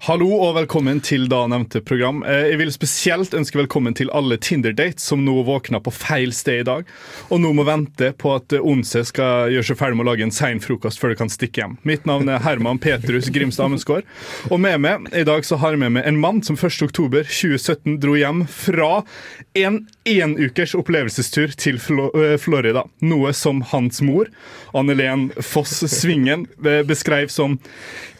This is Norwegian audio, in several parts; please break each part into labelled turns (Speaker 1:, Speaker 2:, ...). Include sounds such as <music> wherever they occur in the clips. Speaker 1: Hallo og velkommen til da nevnte program. Eh, Jeg vil spesielt ønske velkommen til alle Tinder-dates som nå våkna på feil sted i dag, og nå må vente på at eh, Onse skal gjøre seg ferdig med å lage en sein frokost før de kan stikke hjem. Mitt navn er Herman Petrus Grimstad Amundsgaard, og med meg i dag så har jeg med meg en mann som 1.10.2017 dro hjem fra en enukers opplevelsestur til Flo- eh, Florida, noe som hans mor, Annelen Foss Svingen, eh, beskrev som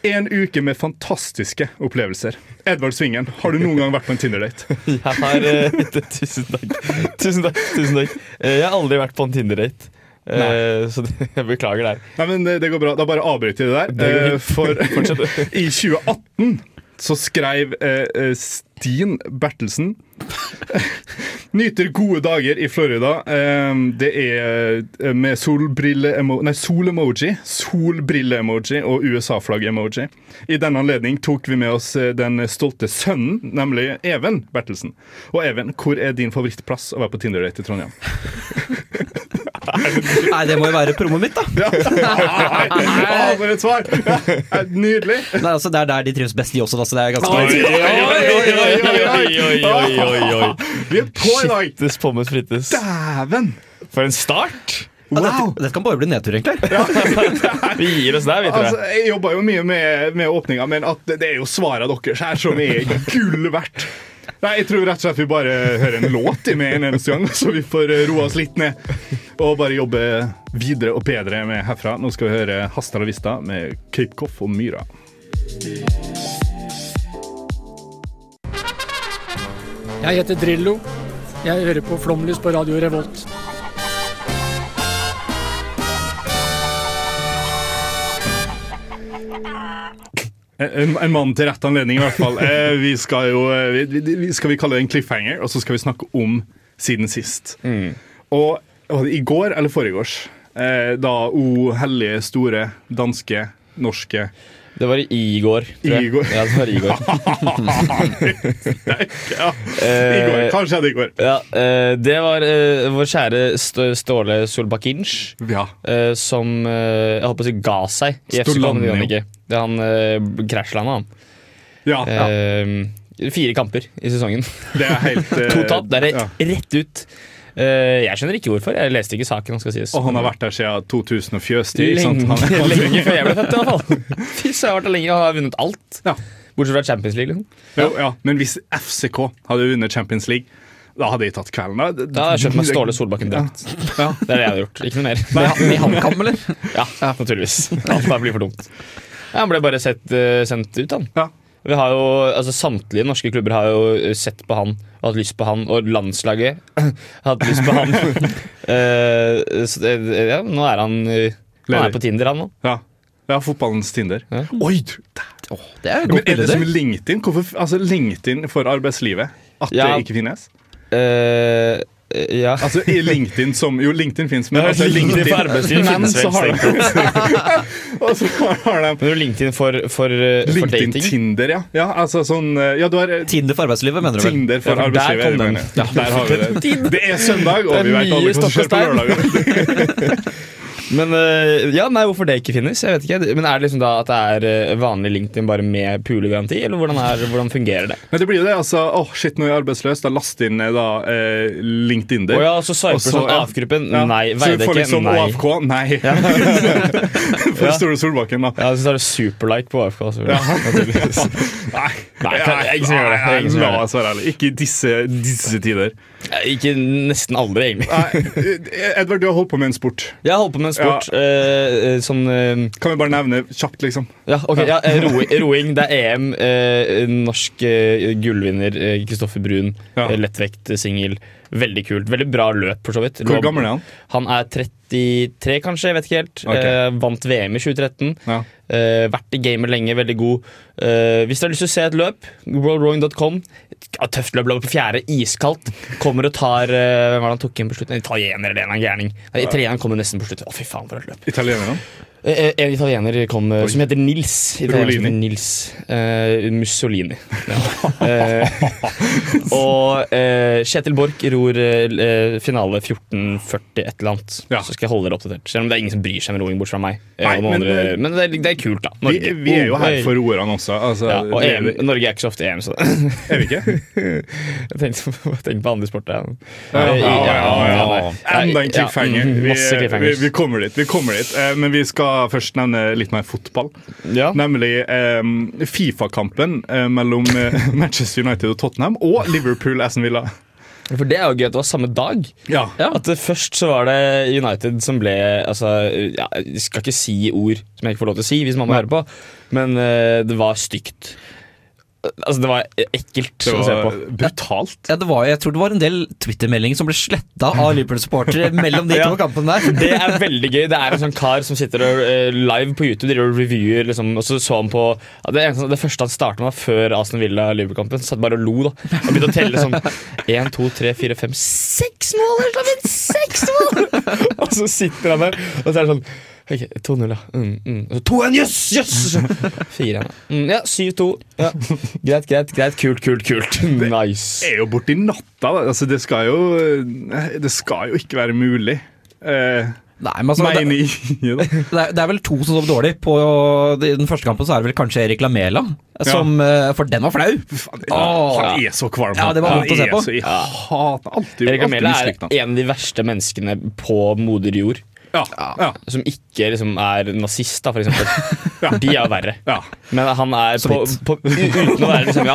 Speaker 1: en uke med fantastiske opplevelser. Edvard Svingen, har du noen gang vært på en Tinder-date?
Speaker 2: Jeg har eh, <laughs> Tusen takk. Tusen takk. tusen takk Eh, Jeg har aldri vært på en Tinder-date. Eh, <laughs> så det, jeg beklager der.
Speaker 1: Nei, men det, det går bra. Da bare avbryter jeg det der. Eh, For <laughs> i 2018 så skrev eh, eh, Stin Bertelsen <laughs> Nyter gode dager i Florida. Eh, det er eh, med solbrille-emoji Nei, sol-emoji. Solbrille-emoji og USA-flagg-emoji. I den anledning tok vi med oss eh, den stolte sønnen, nemlig Even Bertelsen. Og Even, hvor er din favorittplass å være på Tinder-date i Trondheim?
Speaker 3: Nei, det må jo være promoen mitt, da.
Speaker 1: <laughs> Ah, for et svar! Ja, nydelig.
Speaker 3: Nei, altså, det er der de trives best, de også. Da, så det er ganske
Speaker 2: oi, oi, oi, oi.
Speaker 1: Vi er på i dag!
Speaker 2: Shittes pommes frites.
Speaker 1: Dæven!
Speaker 2: For en start!
Speaker 3: Ja, dette, dette kan bare bli nedtur, egentlig.
Speaker 2: Vi gir oss der, vi, tror
Speaker 1: Altså,
Speaker 2: jeg.
Speaker 1: jeg jobba jo mye med, med åpninga, men at det det er jo svara deres her som er gull verdt. Nei, Jeg tror rett og slett vi bare hører en låt i med en eneste gang, så vi får eh, roa oss litt ned. Og bare jobbe videre og bedre med herfra. Nå skal vi høre Hasta la Vista med Cape Coff og Myra.
Speaker 4: Jeg heter Drillo. Jeg hører på Flomlys på Radio Revolt.
Speaker 1: Eh, En, en mann til rett anledning, i hvert
Speaker 2: <laughs>
Speaker 1: fall. Eh, vi skal jo eh, vi, vi, vi- Skal vi kalle det en cliffhanger, og så skal vi snakke om siden sist.
Speaker 2: Mm.
Speaker 1: Og var det i går eller foregårs? Eh, da O hellige, store, danske, norske
Speaker 2: Det var i går. tror jeg.
Speaker 1: I går.
Speaker 2: <laughs> Ja, det var i går.
Speaker 1: Ja, i går.
Speaker 2: Eh,
Speaker 1: Kanskje det i går.
Speaker 2: Ja, eh, det var eh, vår kjære St Ståle Solbakinj.
Speaker 1: Ja.
Speaker 2: eh, som eh, jeg holdt på å si ga seg i FC
Speaker 1: Stolanio.
Speaker 2: Kalifornien. Han uh, krasjlanda, han.
Speaker 1: ja, ja.
Speaker 2: Eh, fire kamper i sesongen.
Speaker 1: Det er helt eh,
Speaker 2: To tap, det er
Speaker 1: ja.
Speaker 2: rett ut. Eh, jeg skjønner ikke hvorfor. Jeg leste ikke saken. skal sies
Speaker 1: Og han har vært der siden 2000 og fjøstid. ikke sant?
Speaker 2: lenge,
Speaker 1: Han- han-
Speaker 2: <laughs> lenge før jeg ble født, i hvert fall. <laughs> Fy søren, jeg har vært der lenge. Han har vunnet alt.
Speaker 1: Ja.
Speaker 2: Bortsett fra Champions League. Liksom.
Speaker 1: Jo, ja. Men hvis FCK hadde vunnet Champions League, da hadde jeg tatt kvelden. Da
Speaker 2: Da hadde jeg kjøpt meg Ståle Solbakken-drakt.
Speaker 1: Ja.
Speaker 2: <laughs> Det er det jeg hadde gjort. Ikke noe mer.
Speaker 3: I HamKam, eller?
Speaker 2: <laughs> Ja, naturligvis. Alt der blir for dumt. Ja, Han ble bare sett, eh, sendt ut, han.
Speaker 1: Ja.
Speaker 2: Vi har jo, altså Samtlige norske klubber har jo eh, sett på han og hatt lyst på han. Og landslaget <clears throat> har hatt lyst på
Speaker 1: <laughs>
Speaker 2: han. Eh, så det, ja, nå er han eh, Han
Speaker 1: Leder.
Speaker 2: er på Tinder, han nå.
Speaker 1: Ja. ja, fotballens Tinder.
Speaker 2: Ja.
Speaker 1: Oi! du-
Speaker 3: Åh, det er jo
Speaker 1: Men
Speaker 3: godt
Speaker 1: er det
Speaker 3: bilde,
Speaker 1: som
Speaker 3: det.
Speaker 1: LinkedIn? Hvorfor, altså LinkedIn for arbeidslivet? At
Speaker 2: Ja.
Speaker 1: det ikke finnes?
Speaker 2: Eh, ja.
Speaker 1: Altså i LinkedIn som, Jo, LinkedIn finnes, men
Speaker 2: Ja,
Speaker 1: altså,
Speaker 2: LinkedIn
Speaker 1: LinkedIn
Speaker 2: for arbeidslivet
Speaker 1: men
Speaker 2: finnes
Speaker 1: så
Speaker 2: vel
Speaker 1: har de <laughs> Og så har de
Speaker 2: Men du LinkedIn for, for, eh, for
Speaker 1: LinkedIn
Speaker 2: dating?
Speaker 1: Tinder, ja. ja. Altså sånn eh, Ja, du har eh,
Speaker 3: Tinder for arbeidslivet, mener du vel?
Speaker 1: Tinder for
Speaker 2: Ja, for der
Speaker 1: arbeidslivet.
Speaker 2: kom
Speaker 1: jeg
Speaker 2: den.
Speaker 1: mener. Ja, der har vi det. Det er søndag, og
Speaker 2: Det er
Speaker 1: vi vet
Speaker 2: mye
Speaker 1: alle hva som skjer på
Speaker 2: stokk og
Speaker 1: lørdager. <laughs>
Speaker 2: Men eh, ja, nei, hvorfor det ikke finnes? Jeg vet ikke. Men Er det liksom da at det er eh, vanlig LinkedIn bare med pulegaranti, eller hvordan, er, hvordan fungerer det?
Speaker 1: Men det blir jo det, altså. Åh, shit, nå er jeg arbeidsløs. Da last inn eh, da eh, LinkedIn
Speaker 2: Å
Speaker 1: der.
Speaker 2: ja, så
Speaker 1: Og
Speaker 2: sveiper
Speaker 1: så,
Speaker 2: sånn
Speaker 1: ja.
Speaker 2: AF-gruppen.
Speaker 1: Ja.
Speaker 2: Nei.
Speaker 1: Så du
Speaker 2: Veidekke.
Speaker 1: får liksom
Speaker 2: nei.
Speaker 1: AFK? Nei. <laughs> for
Speaker 2: Ja.
Speaker 1: Store Solbakken, da.
Speaker 2: Ja, så tar du superlike på AFK. selvfølgelig. Naturligvis.
Speaker 1: <laughs> Nei,
Speaker 2: Nei, det er ingen som gjør det. Det er ingen som gjør det.
Speaker 1: La oss være ærlige. Ikke i disse, disse tider.
Speaker 2: Ikke nesten aldri, egentlig.
Speaker 1: Nei, Edvard, du har holdt på med en sport.
Speaker 2: Jeg har holdt på med en sport eh, eh, sånn eh,
Speaker 1: Kan vi bare nevne kjapt, liksom?
Speaker 2: Ja, ok, ja, eh, roing, roing. Det er EM. eh, norsk eh, gullvinner eh, Kristoffer Brun.
Speaker 1: Ja.
Speaker 2: eh, lettvekt eh, singel. Veldig kult. Veldig bra løp, for så vidt.
Speaker 1: Hvor
Speaker 2: Lå-
Speaker 1: gammel er han?
Speaker 2: Han er 30 93, kanskje. Jeg vet ikke helt.
Speaker 1: Ok.
Speaker 2: Eh, vant VM i 2013.
Speaker 1: Ja.
Speaker 2: Eh, vært i gamet lenge, veldig god. Eh, hvis du har lyst til å se et løp, worldrowing.com. Ja, tøft løp, lå på fjerde, iskaldt. Kommer og tar eh, Hvem var det han tok inn på slutten? En italiener eller en eller annen gærning. Nei, Italieneren kommer nesten på slutten. Å, fy faen, for et løp.
Speaker 1: Italienerne?
Speaker 2: Eh, En italiener kom eh, som heter Nils. Italiener som
Speaker 1: Rolini.
Speaker 2: heter Nils eh, Mussolini.
Speaker 1: <laughs>
Speaker 2: Ja. Eh, og eh, Kjetil Borch ror eh, finale 14.40 et eller annet.
Speaker 1: Ja.
Speaker 2: Så skal jeg holde dere oppdatert. Selv om det er ingen som bryr seg med roing, bortsett fra meg. Eh,
Speaker 1: Nei,
Speaker 2: og noen
Speaker 1: men-
Speaker 2: andre, men det er, det er kult, da.
Speaker 1: Vi, vi er jo her for roerne også. Altså,
Speaker 2: ja, og
Speaker 1: det er
Speaker 2: EM,
Speaker 1: vi-
Speaker 2: Norge er ikke så ofte i EM, så <laughs> jeg
Speaker 1: er vi ikke?
Speaker 2: tenkte, jeg tenkte på andre sporter. jeg.
Speaker 1: Ja,
Speaker 2: Eh,
Speaker 1: ja, ja,
Speaker 2: nei.
Speaker 1: ja. Enda en
Speaker 2: Ja,
Speaker 1: cliffhanger.
Speaker 2: mm,
Speaker 1: Vi,
Speaker 2: masse
Speaker 1: vi,
Speaker 2: cliffhangers.
Speaker 1: vi kommer dit. vi kommer dit Eh, Men vi skal først nevne litt mer fotball.
Speaker 2: Ja.
Speaker 1: Nemlig eh, Fifa-kampen eh, mellom eh, <laughs> Manchester United og Tottenham og Liverpool Aston Villa.
Speaker 2: For det er jo gøy at det var samme dag.
Speaker 1: Ja.
Speaker 2: At det først så var det United som ble altså, ja, Jeg skal ikke si ord som jeg ikke får lov til å si hvis mamma hører på, men eh, det var stygt. Altså, det var ekkelt
Speaker 1: Det
Speaker 2: å se på.
Speaker 1: var brutalt.
Speaker 3: Ja, det var, jeg tror det var en del Twitter-meldinger som ble sletta av Liverpool-supportere mellom de to
Speaker 2: Ja.
Speaker 3: kampene der.
Speaker 2: Det er veldig gøy. Det er en sånn kar som sitter og eh, live på YouTube driver og reviewer. Liksom, og så så han på ja, det, eneste, det første han starta med, var før Aston Villa-Liverpool-kampen. Satt bare og lo. da Og begynte å telle sånn én, to, tre, fire, fem, seks mål! Eller noe, men seks mål! og så sitter han der, og så er det sånn Ok, 2-0, ja. Mm, mm. Og så 2-1, jøss! Jøss! Og så 4-1. Mm, ja, 7-2. Ja. Greit, greit, greit. Kult, kult, kult. Nice.
Speaker 1: er jo borti natta. da. Altså, det, skal jo, eh, det skal jo ikke være mulig. Eh,
Speaker 3: Nei, men altså, det,
Speaker 1: mener jeg, da.
Speaker 3: det, er, det er vel to som sov dårlig. På, I den første kampen så er det vel kanskje Erik Lamela, som, eh, for den var flau. Åh.
Speaker 1: Han er så kvalm.
Speaker 3: Ja, det var
Speaker 1: han
Speaker 3: vondt å se
Speaker 1: er
Speaker 3: på.
Speaker 1: Så, jeg hater alltid,
Speaker 2: Erik
Speaker 1: alltid
Speaker 2: Amela er
Speaker 1: mislikt han.
Speaker 2: en av de verste menneskene på moder jord.
Speaker 1: altså. Ja, ja,
Speaker 2: som ikke liksom er nazist, da, for eksempel.
Speaker 1: <laughs> Ja.
Speaker 2: De er jo verre.
Speaker 1: ja.
Speaker 2: Men han er på, på, <laughs> u- uten å være, liksom, ja,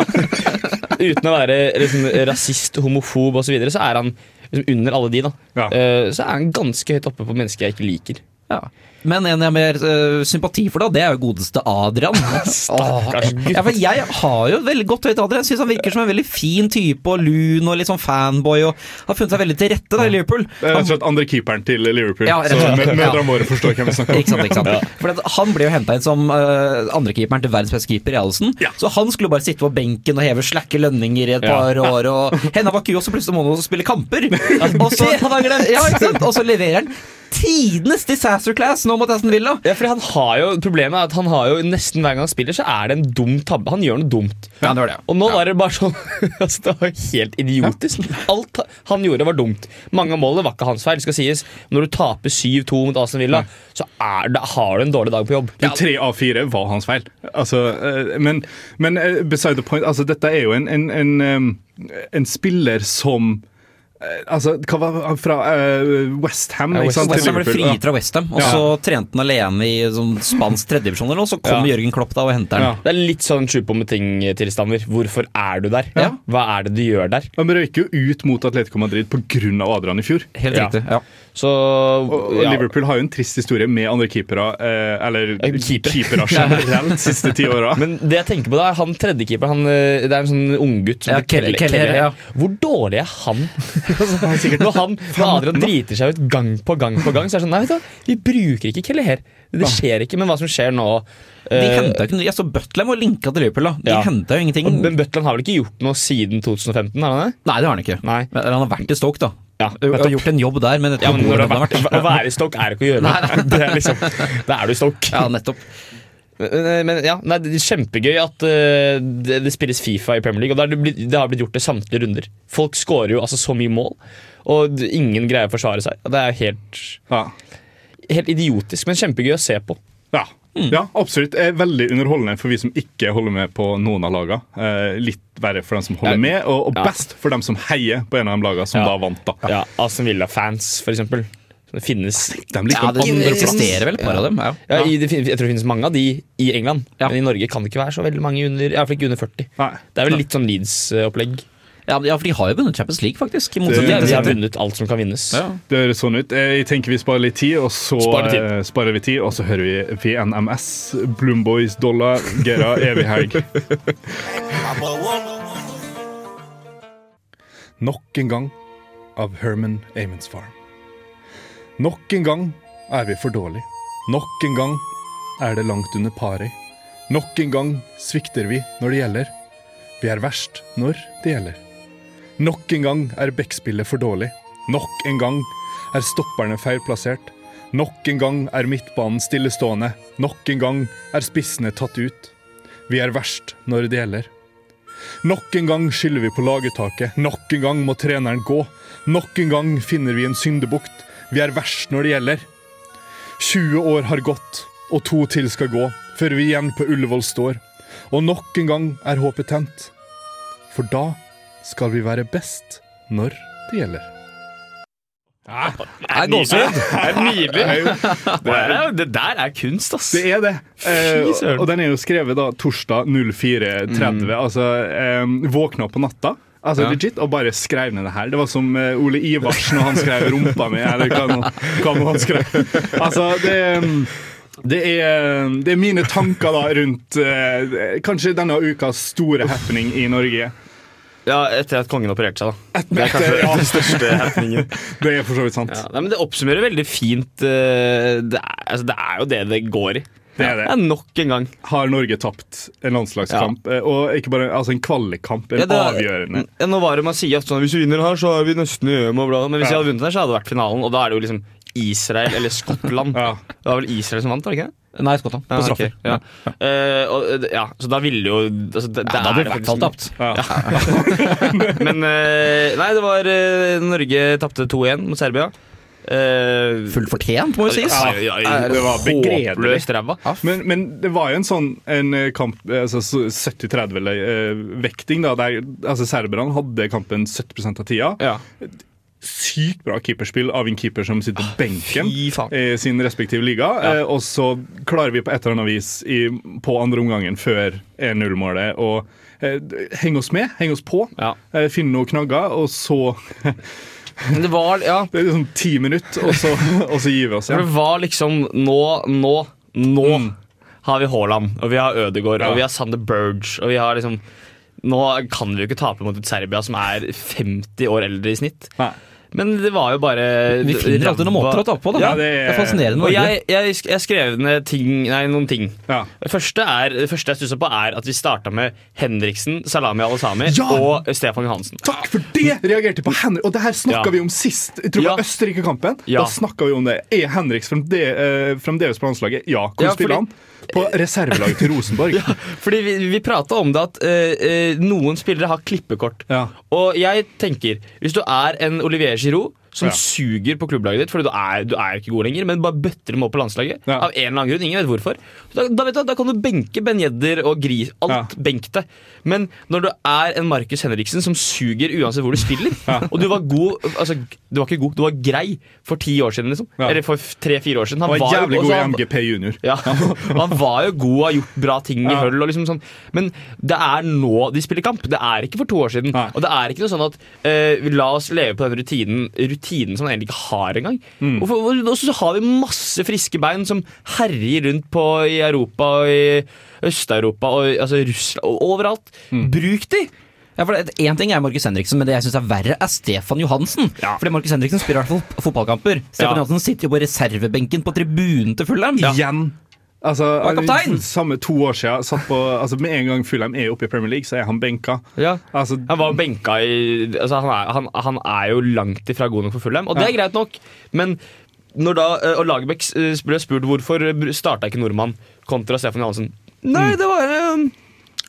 Speaker 2: uten å være liksom, rasist, homofob osv., så, videre, så er han liksom, under alle de. da
Speaker 1: Ja.
Speaker 2: Eh, Så er han ganske høyt oppe på mennesker jeg ikke liker.
Speaker 3: Ja. Men en jeg har mer eh, sympati for, da, det er jo godeste
Speaker 1: <laughs>
Speaker 3: Adrian. Stakkars Ja, for jeg har jo et veldig godt høyt Adrian. Syns han virker som en veldig fin type og lun og litt sånn fanboy og har funnet seg veldig til rette da i Liverpool.
Speaker 1: Det er rett og slett andre keeperen til Liverpool.
Speaker 3: Ja, rett og
Speaker 1: så
Speaker 3: slett.
Speaker 1: mø-
Speaker 3: Ja.
Speaker 1: mødrene våre forstår hvem vi snakker om.
Speaker 3: Ikke sant, ikke sant. For at han ble jo henta inn som uh, andrekeeperen til verdens beste keeper i Allison.
Speaker 1: Ja.
Speaker 3: Så han skulle jo bare sitte på benken og heve slakke lønninger i et
Speaker 2: Ja.
Speaker 3: par år. Og henda var ku, og så plutselig må han jo spille
Speaker 1: <laughs>
Speaker 3: kamper! Og så, ja, ikke sant? og så leverer han tidenes disaster class nå mot Aston Villa!
Speaker 2: Ja, fordi han har jo, Problemet er at han har jo nesten hver gang han spiller, så er det en dum tabbe. Han gjør noe dumt.
Speaker 3: Ja, det var det.
Speaker 2: Og nå var det bare sånn <laughs> altså, Det var helt idiotisk. Alt han gjorde, var dumt. Mange av målene var ikke hans feil. skal sies Når du taper 7-2 mot Aston Villa, så er det, har du en dårlig dag på jobb.
Speaker 1: Men Tre av fire var hans feil. Altså, eh, men, men eh, beside the point, altså, dette er jo en, en, en, eh, en spiller som eh, Altså, hva var han fra eh, Westham?
Speaker 2: Ja, West-
Speaker 3: West Ham ble frigitt fra Westham, og
Speaker 1: Ja.
Speaker 3: så trente han alene i sånn spansk tredjedivisjon eller noe, så kom
Speaker 2: Ja.
Speaker 3: Jørgen Klopp da og henter han.
Speaker 1: Ja.
Speaker 2: Det er litt sånn sju på med ting-tilstander. Hvorfor er du der?
Speaker 3: Ja.
Speaker 2: Hva er det du gjør der?
Speaker 1: De røyker jo ut mot Atletico Madrid pga. Adrian i fjor.
Speaker 3: Helt
Speaker 2: Ja.
Speaker 3: riktig. Ja.
Speaker 2: Så
Speaker 1: Og og
Speaker 2: ja.
Speaker 1: Liverpool har jo en trist historie med andre keepere, eh, eller
Speaker 2: Eh, keepere.
Speaker 1: keepere
Speaker 2: <laughs>
Speaker 1: generelt, de siste ti åra.
Speaker 2: Men det jeg tenker på da, er han tredjekeeperen. Han, eh, det er en sånn unggutt.
Speaker 3: Ja, Kelly- Kelly, ja.
Speaker 2: Hvor dårlig er
Speaker 3: <laughs>
Speaker 2: han? Altså, når han når Adrian driter seg ut gang på gang på gang, så er det sånn Nei, vet du, hva, vi bruker ikke Kelly her. Det skjer ikke, men hva som skjer nå
Speaker 3: De
Speaker 2: eh,
Speaker 3: hentet jo ikke noe Jeg så Butlam og linka til Liverpool, da. De
Speaker 2: Ja.
Speaker 3: hentet jo ingenting.
Speaker 2: og- Men Butland har vel ikke gjort noe siden 2015? har han det?
Speaker 3: Nei, det har han ikke.
Speaker 2: Nei.
Speaker 3: Men Han har vært i Stoke, da.
Speaker 2: Ja,
Speaker 3: Og
Speaker 2: nettopp.
Speaker 3: gjort en jobb der, men
Speaker 2: Ja, men når det
Speaker 3: han
Speaker 2: har vært, å være i stokk er ikke å gjøre
Speaker 3: Nei,
Speaker 2: noe. <laughs> Det er liksom, da er du i stokk.
Speaker 3: Ja, nettopp.
Speaker 2: Men, men ja, nei, det er kjempegøy at eh, det, det spilles Fifa i Premier League. Og det, er det, blitt, det har blitt gjort i samtlige runder. Folk skårer jo altså så mye mål, og d- ingen greier å forsvare seg. Og Det er helt,
Speaker 1: Ja.
Speaker 2: helt idiotisk, men kjempegøy å se på.
Speaker 1: Ja.
Speaker 2: Mm.
Speaker 1: ja, absolutt. Er veldig underholdende for vi som ikke holder med på noen av lagene. Eh, litt verre for dem som holder
Speaker 2: Ja.
Speaker 1: med, og, og
Speaker 2: Ja.
Speaker 1: best for dem som heier på en av de lagene som
Speaker 2: Ja.
Speaker 1: da vant. da.
Speaker 2: Ja, Aston Villa-fans, for eksempel. Det finnes
Speaker 1: De ligger
Speaker 3: Ja,
Speaker 1: på
Speaker 3: det
Speaker 1: andreplass.
Speaker 3: eksisterer vel et par av dem. Ja.
Speaker 2: ja, i, det, fin- Jeg tror det finnes mange av de i England,
Speaker 3: Ja.
Speaker 2: men i Norge kan det ikke være så veldig mange under, i hvert fall ikke under 40.
Speaker 1: Nei.
Speaker 2: Det er vel litt sånn Leeds-opplegg.
Speaker 3: Ja, men- ja, for de har jo vunnet Champions League, faktisk.
Speaker 1: Det-
Speaker 3: I
Speaker 2: De
Speaker 3: motsetning
Speaker 2: har-
Speaker 3: til
Speaker 2: de har
Speaker 3: City.
Speaker 2: vunnet alt som kan vinnes.
Speaker 3: Ja.
Speaker 1: Det høres sånn ut. Eh, Jeg tenker vi sparer litt tid, og så
Speaker 2: Sparer tid.
Speaker 1: eh, sparer vi tid, og så hører vi VNMS, Bloomboys, Dollar, Gera,
Speaker 2: <laughs>
Speaker 1: Evig helg. Nok en gang av Herman Amons Farm. Nok en gang er vi for dårlig. Nok en gang er det langt under paret. Nok en gang svikter vi når det gjelder. Vi er verst når det gjelder. Nok en gang er backspillet for dårlig. Nok en gang er stopperne feilplassert. Nok en gang er midtbanen stillestående. Nok en gang er spissene tatt ut. Vi er verst når det gjelder. Nok en gang skylder vi på laguttaket. Nok en gang må treneren gå. Nok en gang finner vi en syndebukt. Vi er verst når det gjelder. 20 år har gått, og to til skal gå, før vi igjen på Ullevål står. Og nok en gang er håpet tent. For da skal vi være best når det gjelder.
Speaker 3: Er gåsehud.
Speaker 2: er nydelig! Det, er, det der er kunst, ass.
Speaker 1: Det er det.
Speaker 2: Fy
Speaker 1: Eh,
Speaker 2: søren. Mm.
Speaker 1: og den er jo skrevet da torsdag 04.30. Altså eh, våkna på natta. Altså
Speaker 3: Ja.
Speaker 1: legit, Og bare skrev ned det her. Det var som eh, Ole Ivarsen og han skrev 'rumpa mi', eller hva nå- hva nå han skrev. Altså, det mm, det er, det er mine tanker da rundt eh, kanskje denne ukas store happening i Norge.
Speaker 2: Ja, Etter at kongen opererte seg, da. Det er
Speaker 1: Etter-
Speaker 2: kanskje
Speaker 1: ja.
Speaker 2: den største happeningen.
Speaker 1: <laughs> Det er for så vidt sant.
Speaker 2: Ja, nei, men det oppsummerer veldig fint eh, det er, altså, det er jo det det går i.
Speaker 1: Det er det.
Speaker 2: Ja, nok en gang.
Speaker 1: Har Norge tapt en landslagskamp? eh, Og ikke bare altså en kvalikkamp, en
Speaker 2: Ja, det er-
Speaker 1: avgjørende.
Speaker 2: Ja, nå var det man sier at sånn, hvis vi vinner her, så er vi nesten i EM og bla, bla. Men hvis vi
Speaker 1: Ja.
Speaker 2: hadde vunnet her, så hadde det vært finalen. Og da er det jo liksom Israel eller Skottland.
Speaker 1: <laughs> Ja.
Speaker 2: Det var vel Israel som vant, var det ikke det?
Speaker 3: Nei, Skottland. På
Speaker 2: Ja,
Speaker 3: straffer.
Speaker 2: ok, ja. Eh, og, eh, ja, så da ville jo altså, det,
Speaker 3: Ja, da
Speaker 2: er
Speaker 3: hadde vi
Speaker 2: det
Speaker 3: i hvert fall
Speaker 2: faktisk-
Speaker 3: tapt.
Speaker 2: <laughs> Men eh, Nei, det var eh, Norge tapte 2-1 mot Serbia. Uh,
Speaker 3: Fullt fortjent, må jo sies.
Speaker 2: Ja, ja, ja,
Speaker 1: Det var begredelig.
Speaker 2: Håpløst ræva.
Speaker 1: Men, men det var jo en sånn en eh, kamp eh, altså så 70-30 eller, eh, vekting, da, der altså, serberne hadde kampen 70 av tida.
Speaker 2: Ja.
Speaker 1: Sykt bra keeperspill av en keeper som sitter på benken
Speaker 2: fy faen.
Speaker 1: i sin respektive liga. Eh, og så klarer vi på et eller annet vis i, på andre omgangen før 1-0-målet å eh, henge oss med, henge oss på,
Speaker 2: Ja.
Speaker 1: eh, finne noen knagger, og så
Speaker 2: Men det var Ja.
Speaker 1: Det er liksom ti minutter, og så, og så gir vi oss
Speaker 2: For det
Speaker 1: igjen.
Speaker 2: var liksom Nå, nå, nå har vi Haaland, og vi har Ødegaard,
Speaker 1: Ja.
Speaker 2: og vi har Sander Burge, og vi har liksom Nå kan vi jo ikke tape mot et Serbia som er 50 år eldre i snitt.
Speaker 1: Nei.
Speaker 2: Men det var jo bare
Speaker 3: Vi finner alltid noen måter å tape på, da.
Speaker 1: Ja,
Speaker 3: det,
Speaker 1: det er-
Speaker 3: er fascinerende.
Speaker 2: Og
Speaker 3: Norge.
Speaker 2: jeg, jeg, sk- jeg skrev ned ting, nei, noen ting.
Speaker 1: Ja.
Speaker 2: Det første, er, det første jeg stussa på, er at vi starta med Henriksen, Salami Al-Asami
Speaker 1: Ja!
Speaker 2: og Stefan Johansen.
Speaker 1: Takk for det! Reagerte på Henrik. Og det her snakka
Speaker 2: Ja.
Speaker 1: vi om sist. Jeg tror det var
Speaker 2: Ja.
Speaker 1: Østerrike-kampen.
Speaker 2: Ja.
Speaker 1: Da snakka vi om det. Er Henriks fremde, eh, fremdeles på landslaget? Ja. Hvor
Speaker 2: Ja,
Speaker 1: spiller
Speaker 2: fordi-
Speaker 1: han? På reservelaget til
Speaker 2: <laughs>
Speaker 1: Rosenborg. ja.
Speaker 2: Fordi vi, vi prata om det at eh, eh, noen spillere har klippekort.
Speaker 1: Ja.
Speaker 2: Og jeg tenker, hvis du er en Olivier Giroud som
Speaker 1: Ja.
Speaker 2: suger på klubblaget ditt fordi du er, du er ikke god lenger, men bare bøtter dem opp på landslaget
Speaker 1: Ja.
Speaker 2: av en eller annen grunn, ingen vet hvorfor, da, da, vet du, da kan du benke Ben Yedder og Gris. Alt
Speaker 1: Ja.
Speaker 2: benk det. Men når du er en Markus Henriksen som suger uansett hvor
Speaker 1: <laughs>
Speaker 2: du spiller, og du var god Altså, du var ikke god, du var grei for ti år siden, liksom.
Speaker 1: Ja.
Speaker 2: Eller for tre-fire år siden. Han
Speaker 1: Han var
Speaker 2: jo-
Speaker 1: jævlig
Speaker 2: og så
Speaker 1: god i
Speaker 2: han-
Speaker 1: MGP junior.
Speaker 2: ja, og <laughs> Han var jo god og har gjort bra ting i
Speaker 1: Ja.
Speaker 2: høll. Og liksom sånn. Men det er nå de spiller kamp. Det er ikke for to år siden.
Speaker 1: Nei.
Speaker 2: Og det er ikke noe sånn at eh, vi la oss leve på den rutinen, rutinen som man egentlig ikke har engang. Og, for, og så har vi masse friske bein som herjer rundt på i Europa og i Øst-Europa og i- altså, i Russland og overalt. Bruk de!
Speaker 3: Ja, for det- Én ting er Markus Henriksen, men det jeg syns er verre, er Stefan Johansen.
Speaker 2: Ja.
Speaker 3: Fordi Markus Henriksen spiller i hvert fall fotballkamper. Stefan
Speaker 2: Ja.
Speaker 3: Johansen sitter jo på reservebenken på tribunen til Fulham.
Speaker 1: Igjen. Altså,
Speaker 3: Og er kaptein!
Speaker 1: samme to år siden. Satt på, altså, med en gang Fulham er oppe i Premier League, så er han benka.
Speaker 2: Ja.
Speaker 1: Altså,
Speaker 2: Han var benka i altså han, er, han, han er jo langt ifra god nok for Fulham, og det er greit nok. Men når da eh, Og Lagerbäck eh, ble spurt hvorfor starta ikke nordmann kontra Stefan Johansen. Nei, det var eh,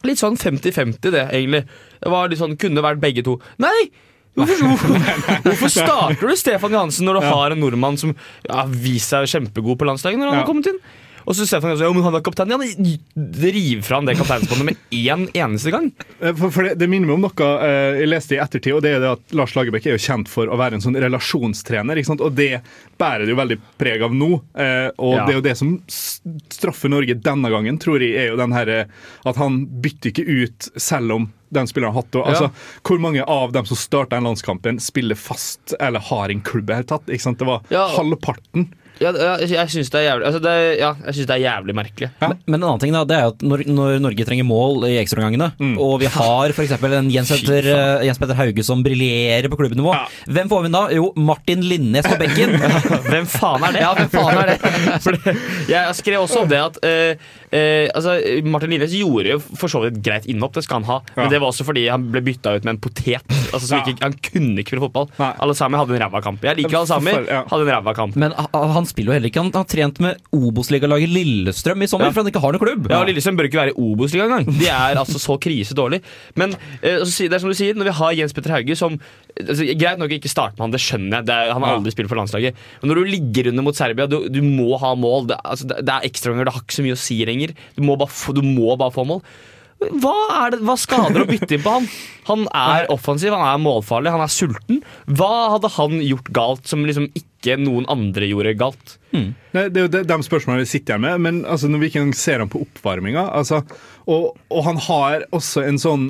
Speaker 2: litt sånn 50-50, det, egentlig. Det var litt sånn, Kunne vært begge to. Nei! <laughs> Hvorfor, hvorfor starter du Stefan Johansen når du har en nordmann som ja, har vist seg kjempegod på landslaget? når han
Speaker 1: Ja.
Speaker 2: har kommet inn? Og så Stefan Johansen, ja, men han er kaptein. Ja, men riv fram det kapteinsbåndet med én eneste gang.
Speaker 1: Eh, For, for det, det minner meg om noe eh, jeg leste i ettertid, og det er det at Lars Lagerbäck er jo kjent for å være en sånn relasjonstrener, ikke sant? og det bærer det jo veldig preg av nå. eh, og
Speaker 2: Ja.
Speaker 1: det er jo det som s- straffer Norge denne gangen, tror jeg, er jo den her, eh, at han bytter ikke ut selv om den spilleren har hatt det. Altså,
Speaker 2: Ja.
Speaker 1: Hvor mange av dem som starter den landskampen, spiller fast eller har en klubb i det hele tatt? Ikke sant? Det var
Speaker 2: Ja.
Speaker 1: halvparten.
Speaker 2: Ja, ja, jeg- jeg syns det, er jævlig- altså det, er- ja, jeg synes det er jævlig merkelig.
Speaker 1: <laughs>
Speaker 3: Men, men en annen ting da, det er jo at når, når Norge trenger mål i ekstraomgangene, og vi har f.eks. en Jens
Speaker 2: Mm. <laughs> Fy
Speaker 3: Petter, eh, Jens Petter Hauge som briljerer på klubbnivå, hvem får vi da? Jo, Martin Linnes på
Speaker 2: <laughs>
Speaker 3: bekken. <laughs>
Speaker 2: Hvem faen er det?
Speaker 3: Ja, hvem faen er det?
Speaker 2: For det- jeg skrev også om det at eh, eh, altså, Martin Linnes gjorde jo for så vidt et greit innhopp, det skal han ha. Men
Speaker 1: Ja.
Speaker 2: det var også fordi han ble bytta ut med en potet. Altså, som
Speaker 1: Ja.
Speaker 2: ikke, han kunne ikke spille fotball.
Speaker 1: Nei.
Speaker 2: Alle sammen hadde en ræva kamp. Jeg liker alle sammen.
Speaker 1: Forferdelig, ja.
Speaker 2: Hadde en ræva kamp.
Speaker 3: Men ha- han spiller jo heller ikke. Han har trent med Obos-ligalaget Lillestrøm i sommer,
Speaker 2: Ja.
Speaker 3: for han ikke har noen klubb.
Speaker 2: Ja, og Lillestrøm bør ikke være i Obos-ligaen engang. De er altså så krisedårlige. Men eh, så sier- det er som du sier, når vi har Jens Petter Hauge som altså, Greit nok ikke starte med han, det skjønner jeg. Det er, han har
Speaker 1: Ja.
Speaker 2: aldri spilt for landslaget. Men når du ligger under mot Serbia, du, du må ha mål. Det, altså, det, det er ekstraomganger, det har ikke så mye å si lenger. Du må bare få, du må bare få mål. Hva, er det, hva skader å bytte inn på han? Han er offensiv, han er målfarlig, han er sulten. Hva hadde han gjort galt som liksom ikke noen andre gjorde galt?
Speaker 1: Nei, det er jo de, de spørsmålene vi sitter her med, men altså, når vi ikke engang ser ham på oppvarminga altså, og, og han har også en sånn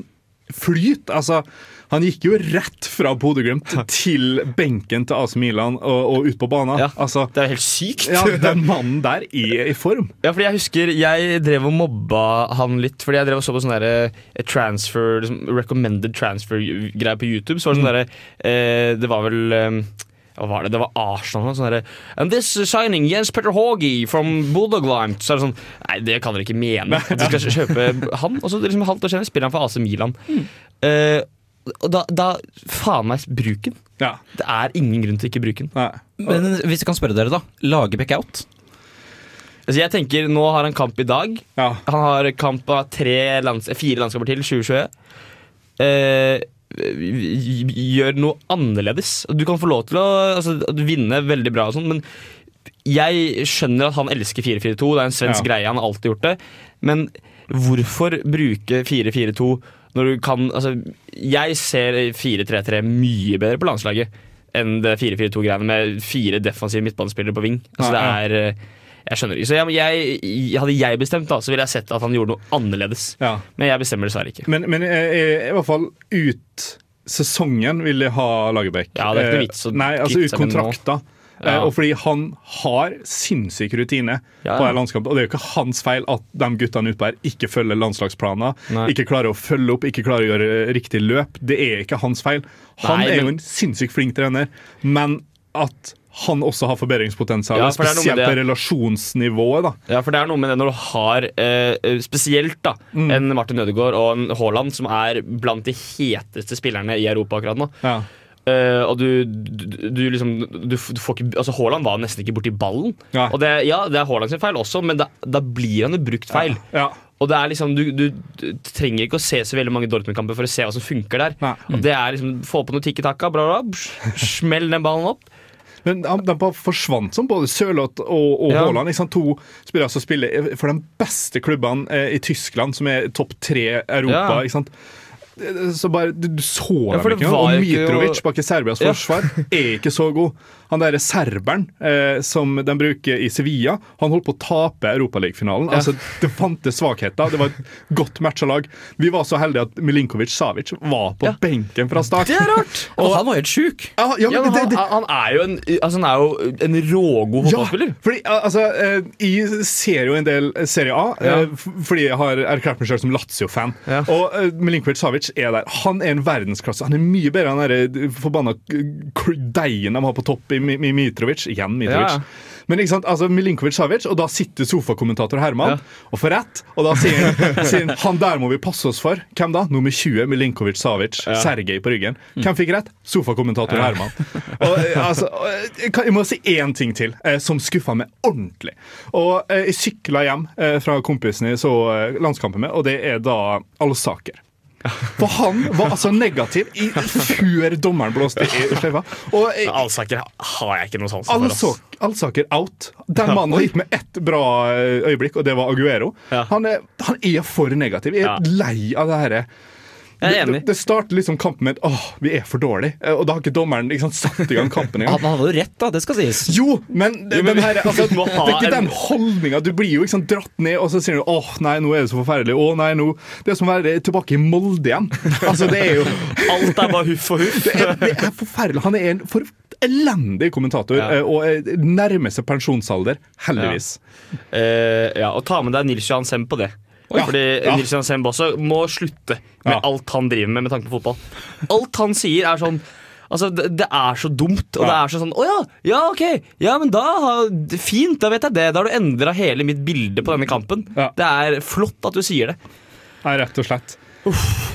Speaker 1: flyt. altså han gikk jo rett fra Bodø-Glimt til benken til AC Milan og, og ut på banen.
Speaker 2: Ja.
Speaker 1: Altså,
Speaker 2: Det er jo helt sykt.
Speaker 1: ja, Den mannen der er i form.
Speaker 2: Ja, fordi jeg husker jeg drev og mobba han litt. Fordi jeg drev og så på sånn derre eh, transfer liksom, Recommended transfer-greier på YouTube. Så var det sånn derre eh, Det var vel eh, hva var det? Det var Arsenal. Sånn derre, And this signing, Jens Petter Haugi from Bodø-Glimt. Så er det sånn Nei, det kan dere ikke mene. At de skal kjøpe han. Og så liksom halvt år senere spiller han for AC Milan. Eh, og da, da faen meg bruk den.
Speaker 1: Ja,
Speaker 2: Det er ingen grunn til ikke å bruke den.
Speaker 1: nei.
Speaker 3: Men hvis jeg kan spørre dere, da. Lagerbäck out?
Speaker 2: Mm. Altså, jeg tenker, Nå har han kamp i dag.
Speaker 1: Ja.
Speaker 2: Han har kamp av tre lands fire landskamper til, 2021. Eh, gjør noe annerledes. Du kan få lov til å altså, at du vinne veldig bra, og sånn, men jeg skjønner at han elsker 4-4-2. Det er en svensk
Speaker 1: Ja.
Speaker 2: greie, han har alltid gjort det. Men hvorfor bruke 4-4-2 når du kan altså, Jeg ser 4-3-3 mye bedre på landslaget enn det 4-4-2-greiene med fire defensive midtbanespillere på ving. Altså, det
Speaker 1: Ja,
Speaker 2: er eh, jeg skjønner ikke. Så jeg, jeg, hadde jeg bestemt, da, så ville jeg sett at han gjorde noe annerledes.
Speaker 1: Ja.
Speaker 2: Men jeg bestemmer dessverre ikke.
Speaker 1: Men, men jeg, jeg, i hvert fall ut sesongen vil jeg ha Lagerbäck.
Speaker 2: Ja, det er ikke noe
Speaker 1: Eh,
Speaker 2: vits å
Speaker 1: Nei, altså
Speaker 2: kvitte
Speaker 1: ut
Speaker 2: seg med nå.
Speaker 1: kontrakta.
Speaker 2: Ja.
Speaker 1: Eh, Og fordi han har sinnssyk rutine
Speaker 2: Ja.
Speaker 1: på en landskamp. Og det er jo ikke hans feil at de guttene utpå her ikke følger landslagsplaner.
Speaker 2: Nei.
Speaker 1: Ikke klarer å følge opp, ikke klarer å gjøre eh, riktig løp. Det er ikke hans feil. Han
Speaker 2: Nei,
Speaker 1: er jo
Speaker 2: men-
Speaker 1: en sinnssykt flink trener, men at han også har forbedringspotensial,
Speaker 2: Ja, for det er noe med
Speaker 1: spesielt på
Speaker 2: det.
Speaker 1: relasjonsnivået. da.
Speaker 2: Ja, for det er noe med det når du har eh, eh, spesielt da,
Speaker 1: Mm.
Speaker 2: en Martin Ødegaard og en Haaland, som er blant de heteste spillerne i Europa akkurat nå.
Speaker 1: Ja.
Speaker 2: Eh, og du, du, du liksom du, f- du får ikke, altså Haaland var nesten ikke borti ballen.
Speaker 1: Ja.
Speaker 2: Og det, ja, det er Haaland sin feil også, men da, da blir han jo brukt feil.
Speaker 1: Ja.
Speaker 2: Og det er liksom, du, du, du trenger ikke å se så veldig mange Dortmund-kamper for å se hva som funker der.
Speaker 1: Nei.
Speaker 2: Og det er liksom, Få på noe tikki-takka, bla, bla, bla, smell den ballen opp.
Speaker 1: Men de, de bare forsvant som både Sørloth og, og
Speaker 2: Ja.
Speaker 1: Haaland. Ikke sant? To spillere som spiller for de beste klubbene eh, i Tyskland, som er topp tre i Europa.
Speaker 2: Ja.
Speaker 1: Ikke sant? Så bare, du, du så
Speaker 2: for
Speaker 1: dem
Speaker 2: det
Speaker 1: ikke.
Speaker 2: var
Speaker 1: engang. Og
Speaker 2: ikke jo-
Speaker 1: Mitrovic bak i Serbias
Speaker 2: Ja.
Speaker 1: forsvar er ikke så god. Han derre serberen eh, som de bruker i Sevilla, han holdt på å tape Europaligafinalen. Altså, det fantes svakheter. Det var et godt matcha lag. Vi var så heldige at Milinkovic Savic var på
Speaker 2: Ja.
Speaker 1: benken fra start.
Speaker 2: Det er rart! <laughs>
Speaker 3: Og han var helt sjuk!
Speaker 1: Ja, ja,
Speaker 2: Ja,
Speaker 1: men
Speaker 2: men
Speaker 1: det,
Speaker 2: han,
Speaker 1: det,
Speaker 2: han er jo en, altså, han er jo en rågod fotballspiller.
Speaker 1: fordi al- altså, eh, jeg ser jo en del eh, Serie A,
Speaker 2: Ja.
Speaker 1: eh, f- fordi jeg har erklært meg selv som Lazio-fan.
Speaker 2: Ja.
Speaker 1: Og eh, Milinkovic Savic er der. Han er en verdensklasse. Han er mye bedre enn den der, eh, forbanna eh, kl- deigen de har på topp i, Mi- Mi- Mitrovic. Igjen Mitrovic.
Speaker 2: Ja.
Speaker 1: Men ikke sant, altså Milinkovic Savic, og da sitter sofakommentator Herman
Speaker 2: Ja.
Speaker 1: og får rett. Og da sier han, sier han han der må vi passe oss for. Hvem da? Nummer 20, Milinkovic Savic. Sergej på ryggen. Hvem fikk rett? Sofakommentator Herman. Og, eh, altså, og, eh, kan- jeg må si én ting til eh, som skuffa meg ordentlig. Og eh, Jeg sykla hjem eh, fra kompisen jeg så eh, landskampen med, og det er da Alsaker. For han var altså negativ i, før dommeren blåste i sløyfa. Og eh,
Speaker 2: Alsaker har jeg ikke noe sans for. ass.
Speaker 1: Allsak- Allsaker out. Den mannen har gitt meg ett bra eh, øyeblikk, og det var Aguero.
Speaker 2: Ja.
Speaker 1: Han, er, han er for negativ. Jeg er
Speaker 2: Ja.
Speaker 1: lei av det herre.
Speaker 2: Jeg er
Speaker 1: Det,
Speaker 2: enig.
Speaker 1: det starter liksom kampen med at åh, vi er for dårlige. Eh, Og da har ikke dommeren ikke sant, satt i gang kampen engang.
Speaker 2: <laughs>
Speaker 3: Han hadde jo rett, da. Det skal sies.
Speaker 1: Jo, men,
Speaker 2: Jo,
Speaker 1: den
Speaker 2: men
Speaker 1: her,
Speaker 2: vi-
Speaker 1: altså,
Speaker 2: vi må
Speaker 1: det
Speaker 2: ha
Speaker 1: er ikke
Speaker 2: en-
Speaker 1: den holdninga. Du blir jo liksom dratt ned, og så sier du åh nei, nå er det så forferdelig. Åh, nei, nå. Det er som å være tilbake i Molde igjen. Altså, det er jo
Speaker 2: Alt er bare huff og huff.
Speaker 1: det er, det er Eh, forferdelig. Han er en for, elendig kommentator
Speaker 2: Ja.
Speaker 1: eh, og eh, nærmer seg pensjonsalder, heldigvis.
Speaker 2: Eh, ja, og ta med deg Nils Johan Semb på det. Fordi
Speaker 1: Ja.
Speaker 2: Nils Johan Semb også må slutte med
Speaker 1: Ja.
Speaker 2: alt han driver med med tanke på fotball. Alt han sier, er sånn Altså, Det, det er så dumt. Og det
Speaker 1: Ja.
Speaker 2: er så sånn Å ja, ja, ok. Ja, men da har- Fint, da vet jeg det. Da har du endra hele mitt bilde på denne kampen.
Speaker 1: Ja.
Speaker 2: Det er flott at du sier det.
Speaker 1: Nei, rett og slett.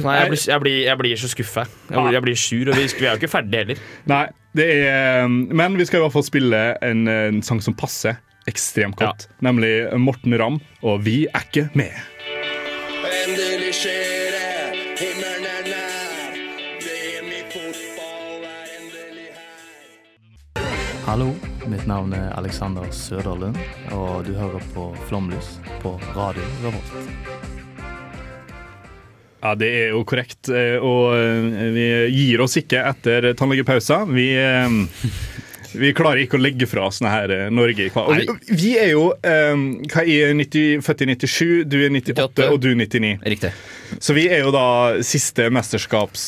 Speaker 2: Nei, Jeg blir, jeg blir, jeg blir så skuffa. Jeg, blir- jeg blir sur. Og vi, vi er jo ikke ferdige heller.
Speaker 1: Nei, det er eh, Men vi skal i hvert fall spille en, eh, en sang som passer ekstremt godt. Nemlig Morten Ramm og Vi er ikke med.
Speaker 5: Endelig skjer det, himmelen er nær. VM i fotball er endelig her.
Speaker 6: Hallo, mitt navn er Alexander Søderlund, og du hører på Flomlys på Radio Revolt.
Speaker 1: Ja, det er jo korrekt. eh, Og eh, vi gir oss ikke etter tannlegepausa. Vi eh, vi klarer ikke å legge fra oss sånne her eh, Norge i kval. Og vi, vi er jo eh, Hva er 90, født i 97, du er 98 og du er 99.
Speaker 3: Riktig.
Speaker 1: Så vi er jo da siste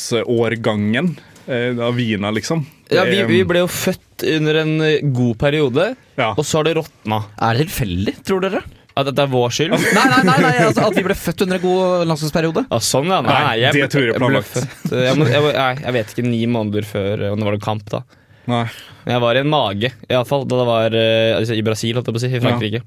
Speaker 1: mesterskapsårgangen eh, av Wiener, liksom.
Speaker 2: Ja, vi,
Speaker 1: Det er,
Speaker 2: vi ble jo født under en eh, god periode,
Speaker 1: Ja.
Speaker 2: og så har det råtna.
Speaker 3: Er det tilfeldig, tror dere?
Speaker 2: At dette er vår skyld? <laughs>
Speaker 3: Nei, nei, nei, nei altså, at vi ble født under en god landslagsperiode.
Speaker 2: Ja, sånn, ja. Nei,
Speaker 1: Nei,
Speaker 2: jeg,
Speaker 1: det tror jeg er planlagt.
Speaker 2: Jeg, ble født, eh, jeg, må- jeg, nei, jeg vet ikke, ni måneder før eh, Når var det kamp, da?
Speaker 1: Nei.
Speaker 2: Men jeg var i en mage, iallfall. Da det var eh, altså, i Brasil, holdt jeg på å si. I Frankrike.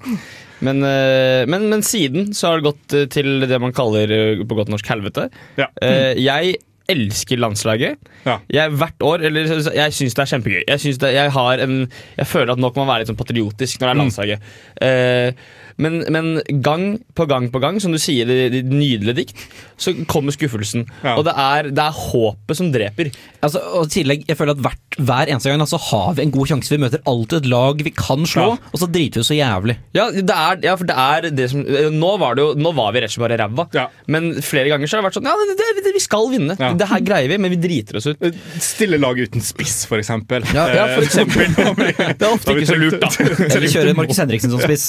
Speaker 2: Men, eh, men, men siden så har det gått eh, til det man kaller eh, på godt norsk helvete.
Speaker 1: Ja.
Speaker 2: Eh, jeg elsker landslaget.
Speaker 1: Ja.
Speaker 2: Jeg, hvert år, eller så- så- Jeg syns det er kjempegøy. Jeg, synes det, jeg, har en, jeg føler at nå kan man være litt sånn patriotisk når det er
Speaker 1: Mm.
Speaker 2: landslaget. Eh, men, men gang på gang på gang, som du sier i ditt nydelige dikt, så kommer skuffelsen.
Speaker 1: Ja.
Speaker 2: Og det er, det er håpet som dreper.
Speaker 3: Altså, og i tillegg, jeg føler at hvert, Hver eneste gang altså, har vi en god sjanse. Vi møter alltid et lag vi kan slå,
Speaker 1: Ja.
Speaker 3: og så driter vi
Speaker 1: <laughs>
Speaker 3: så jævlig.
Speaker 2: Ja, det er, ja, for det er det som eh, Nå var, det jo, nå var vi rett og slett bare ræva.
Speaker 1: Ja.
Speaker 2: Men flere ganger så har det vært sånn Ja, det, det, det, vi skal vinne.
Speaker 1: Ja.
Speaker 2: Det her greier vi, men vi
Speaker 1: <laughs>
Speaker 2: driter oss ut.
Speaker 1: Eh, Stille lag uten spiss, for eksempel.
Speaker 2: Ja, ja,
Speaker 1: <laughs>
Speaker 2: for
Speaker 1: Eh,
Speaker 2: eksempel. Det er ofte ikke så lurt,
Speaker 1: <laughs>
Speaker 2: da.
Speaker 3: Eller
Speaker 1: liksom-
Speaker 3: kjører Markus Henriksen som spiss.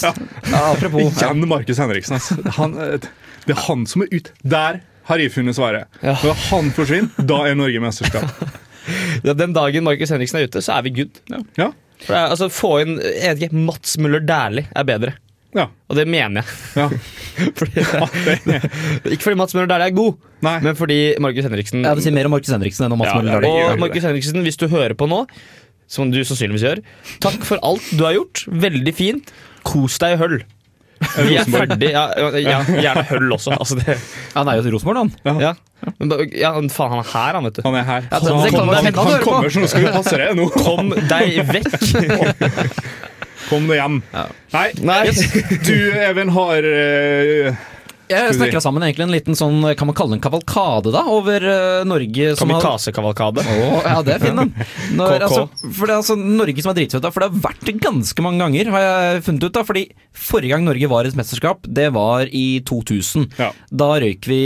Speaker 3: Ja, apropos. Ja.
Speaker 1: Igjen Markus Henriksen. ass. Han, eh, det er han som er ut. Der har jeg funnet svaret. Når han forsvinner, da er Norge mesterskap.
Speaker 2: Ja, den dagen Markus Henriksen er ute, så er vi good.
Speaker 1: Ja,
Speaker 2: For det er, altså, få inn jeg vet ikke, Mats Møller Dæhlie er bedre.
Speaker 1: ja,
Speaker 2: Og det mener jeg. <laughs>
Speaker 1: ja.
Speaker 2: Fordi, ikke fordi Mats Møller Dæhlie er god,
Speaker 1: Nei.
Speaker 2: men fordi Markus Henriksen
Speaker 3: Det sier mer om Markus Henriksen enn om Mats
Speaker 1: Ja,
Speaker 3: Møller
Speaker 1: ja,
Speaker 3: Dæhlie.
Speaker 1: gjør det.
Speaker 2: Og Markus Henriksen, hvis du hører på nå, som du sannsynligvis gjør, takk for alt du har gjort. Veldig fint. Kos deg i høll. Vi er
Speaker 1: Rosenborg.
Speaker 2: ferdig. Ja, ja, gjerne høll også. Altså det,
Speaker 3: Han er jo til Rosenborg, han.
Speaker 2: ja. Men, da- ja, faen, han er her, han, vet du.
Speaker 1: Han er her.
Speaker 2: Ja, det-
Speaker 1: han,
Speaker 2: det kan
Speaker 1: kommer-
Speaker 2: være
Speaker 1: han,
Speaker 2: fint å høre på.
Speaker 1: kommer, så nå skal vi passe det. Nå
Speaker 2: Kom deg vekk!
Speaker 1: kom det hjem. Nei,
Speaker 2: Nei.
Speaker 1: du Even har eh,
Speaker 3: Jeg
Speaker 1: Skal vi-
Speaker 3: snakka sammen egentlig en liten sånn, kan man kalle det en kavalkade, da, over eh, Norge som har
Speaker 2: Kamikaze-kavalkade.
Speaker 3: Å, ja, det er fin, den. Når,
Speaker 2: KK.
Speaker 3: altså, for det er altså Norge som er dritfett, da, for det har vært det ganske mange ganger, har jeg funnet ut. da, fordi Forrige gang Norge var i et mesterskap, det var i 2000.
Speaker 1: Ja.
Speaker 3: Da røyk vi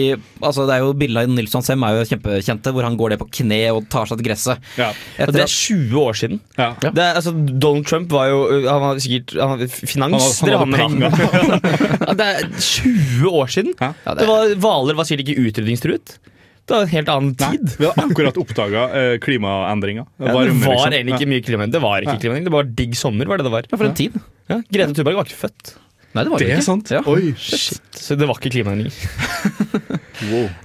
Speaker 3: altså Det er jo bildet av Nilsson Sem er jo kjempekjente, hvor han går ned på kne og tar seg til gresset.
Speaker 1: Ja.
Speaker 2: Og
Speaker 3: Etter
Speaker 2: det er
Speaker 3: at-
Speaker 2: 20 år siden.
Speaker 1: Ja.
Speaker 2: Det er, altså, Donald Trump var jo øh, Han var sikkert han var finans.
Speaker 1: Han hadde- han
Speaker 2: drev med
Speaker 1: hadde
Speaker 2: da. <laughs> Ja, det er 20 år siden!
Speaker 1: Ja.
Speaker 2: det var, Hvaler var sikkert ikke utrydningstruet. Det var en helt annen
Speaker 1: Nei,
Speaker 2: tid.
Speaker 1: vi har akkurat oppdaga klimaendringer.
Speaker 2: Ja, det
Speaker 1: Varme,
Speaker 2: var
Speaker 1: liksom.
Speaker 2: egentlig ikke mye klimaendring. Det var ikke klimaendring, det var digg sommer. var det det var.
Speaker 3: ja, For en tid.
Speaker 2: Ja, Grete Thunberg var ikke født,
Speaker 3: Nei, det var
Speaker 1: Det
Speaker 3: det
Speaker 1: er
Speaker 3: ikke.
Speaker 1: sant.
Speaker 3: Ja.
Speaker 1: Oi,
Speaker 2: så det var ikke klimaendring.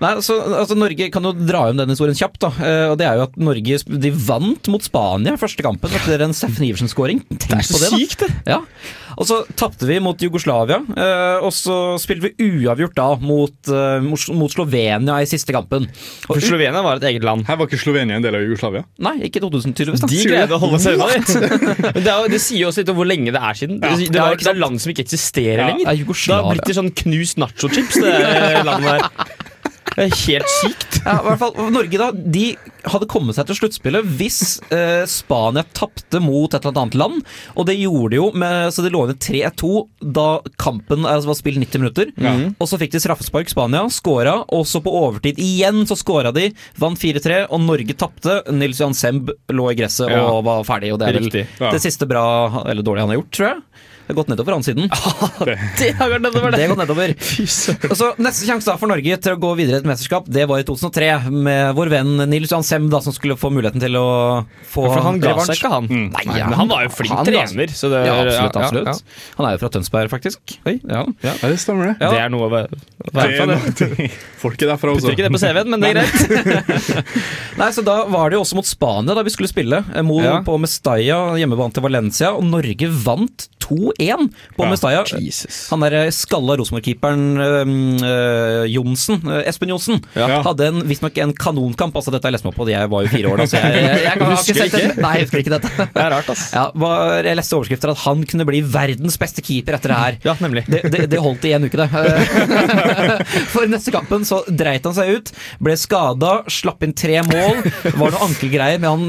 Speaker 3: Nei, altså, altså Norge kan jo dra hjem den historien kjapt. da Eh, Og det er jo at Norge sp- de vant mot Spania første kampen etter en Steffen Iversen-skåring. Tenk
Speaker 2: Det er så
Speaker 3: på det, da.
Speaker 2: sykt, det!
Speaker 3: Ja, og så tapte vi mot Jugoslavia, eh, og så spilte vi uavgjort da mot, eh, mot, mot Slovenia i siste kampen. Og,
Speaker 2: For Slovenia var et eget land.
Speaker 1: Her var ikke Slovenia en del av Jugoslavia?
Speaker 3: nei, ikke 2000 tydeligvis. Da.
Speaker 2: De greide å holde seg unna. vet du. <laughs> Men Det, er jo- det sier jo også litt om hvor lenge det er siden. Det, det,
Speaker 3: Ja,
Speaker 2: var,
Speaker 3: ikke
Speaker 2: det er land som ikke eksisterer
Speaker 1: Ja.
Speaker 2: lenger. Det
Speaker 3: Ja,
Speaker 2: har
Speaker 3: Jugoslavia.
Speaker 2: blitt til sånn knust nachochips, det eh, landet der. Det er helt sykt.
Speaker 3: <laughs> Ja, i hvert fall, Norge da, de hadde kommet seg til sluttspillet hvis eh, Spania tapte mot et eller annet land. Og det gjorde de jo, med, så det lå under 3-2 da kampen altså, var spilt 90 minutter. Og så fikk de straffespark, Spania skåra, og så på overtid igjen så skåra de. Vant 4-3, og Norge tapte. Nils Johan Semb lå i gresset
Speaker 1: Ja.
Speaker 3: og var ferdig, og det er vel
Speaker 2: Riktig,
Speaker 1: ja.
Speaker 3: det siste bra, eller dårlige han har gjort, tror jeg. Det har gått nedover han siden. <laughs>
Speaker 2: Det har gått nedover,
Speaker 3: Det har gått <laughs> nedover. Og så Neste sjanse da for Norge til å gå videre i et mesterskap, det var i 2003, med vår venn Nils Johan Sem, da, som skulle få muligheten til å få
Speaker 2: For han ga seg
Speaker 3: revansj.
Speaker 2: ikke, han.
Speaker 3: Nei,
Speaker 2: Mm. Nei,
Speaker 3: ja,
Speaker 2: men han var jo flink
Speaker 3: han ga seg.
Speaker 2: trener. Så det,
Speaker 3: Ja, absolutt.
Speaker 2: ja, ja,
Speaker 3: absolutt. Han er jo fra Tønsberg, faktisk. Oi, ja. Ja.
Speaker 1: Ja, det stemmer, det.
Speaker 2: ja. Det er noe å være å være
Speaker 1: Det
Speaker 2: fra,
Speaker 1: er
Speaker 3: <laughs>
Speaker 2: det.
Speaker 1: noe <laughs> Folk er derfra også.
Speaker 2: Putter ikke det på CV-en, men det er greit.
Speaker 3: <laughs> Nei, så Da var det jo også mot Spania da vi skulle spille. eh, Mo
Speaker 2: Ja.
Speaker 3: på Mestalla, hjemmebane til Valencia. Og Norge vant 2-1 på
Speaker 1: Ja,
Speaker 3: Mestalla. Han der eh, skalla Rosenborg-keeperen eh, eh, Johnsen, eh, Espen Johnsen,
Speaker 1: Ja.
Speaker 3: hadde en- visstnok en kanonkamp. Altså Dette har jeg lest meg opp på, jeg var jo fire år da, så jeg, jeg, jeg, kan- har ikke
Speaker 2: Husker
Speaker 3: sett det. Nei, jeg husker ikke dette.
Speaker 2: Det er rart, ass.
Speaker 3: Ja, var, jeg leste overskrifter at han kunne bli verdens beste keeper etter det her.
Speaker 2: Ja, nemlig.
Speaker 3: Det, det, det <laughs> holdt i en uke, det. For neste kampen så dreit han seg ut, ble skada, slapp inn tre mål. Var noe ankelgreier, men han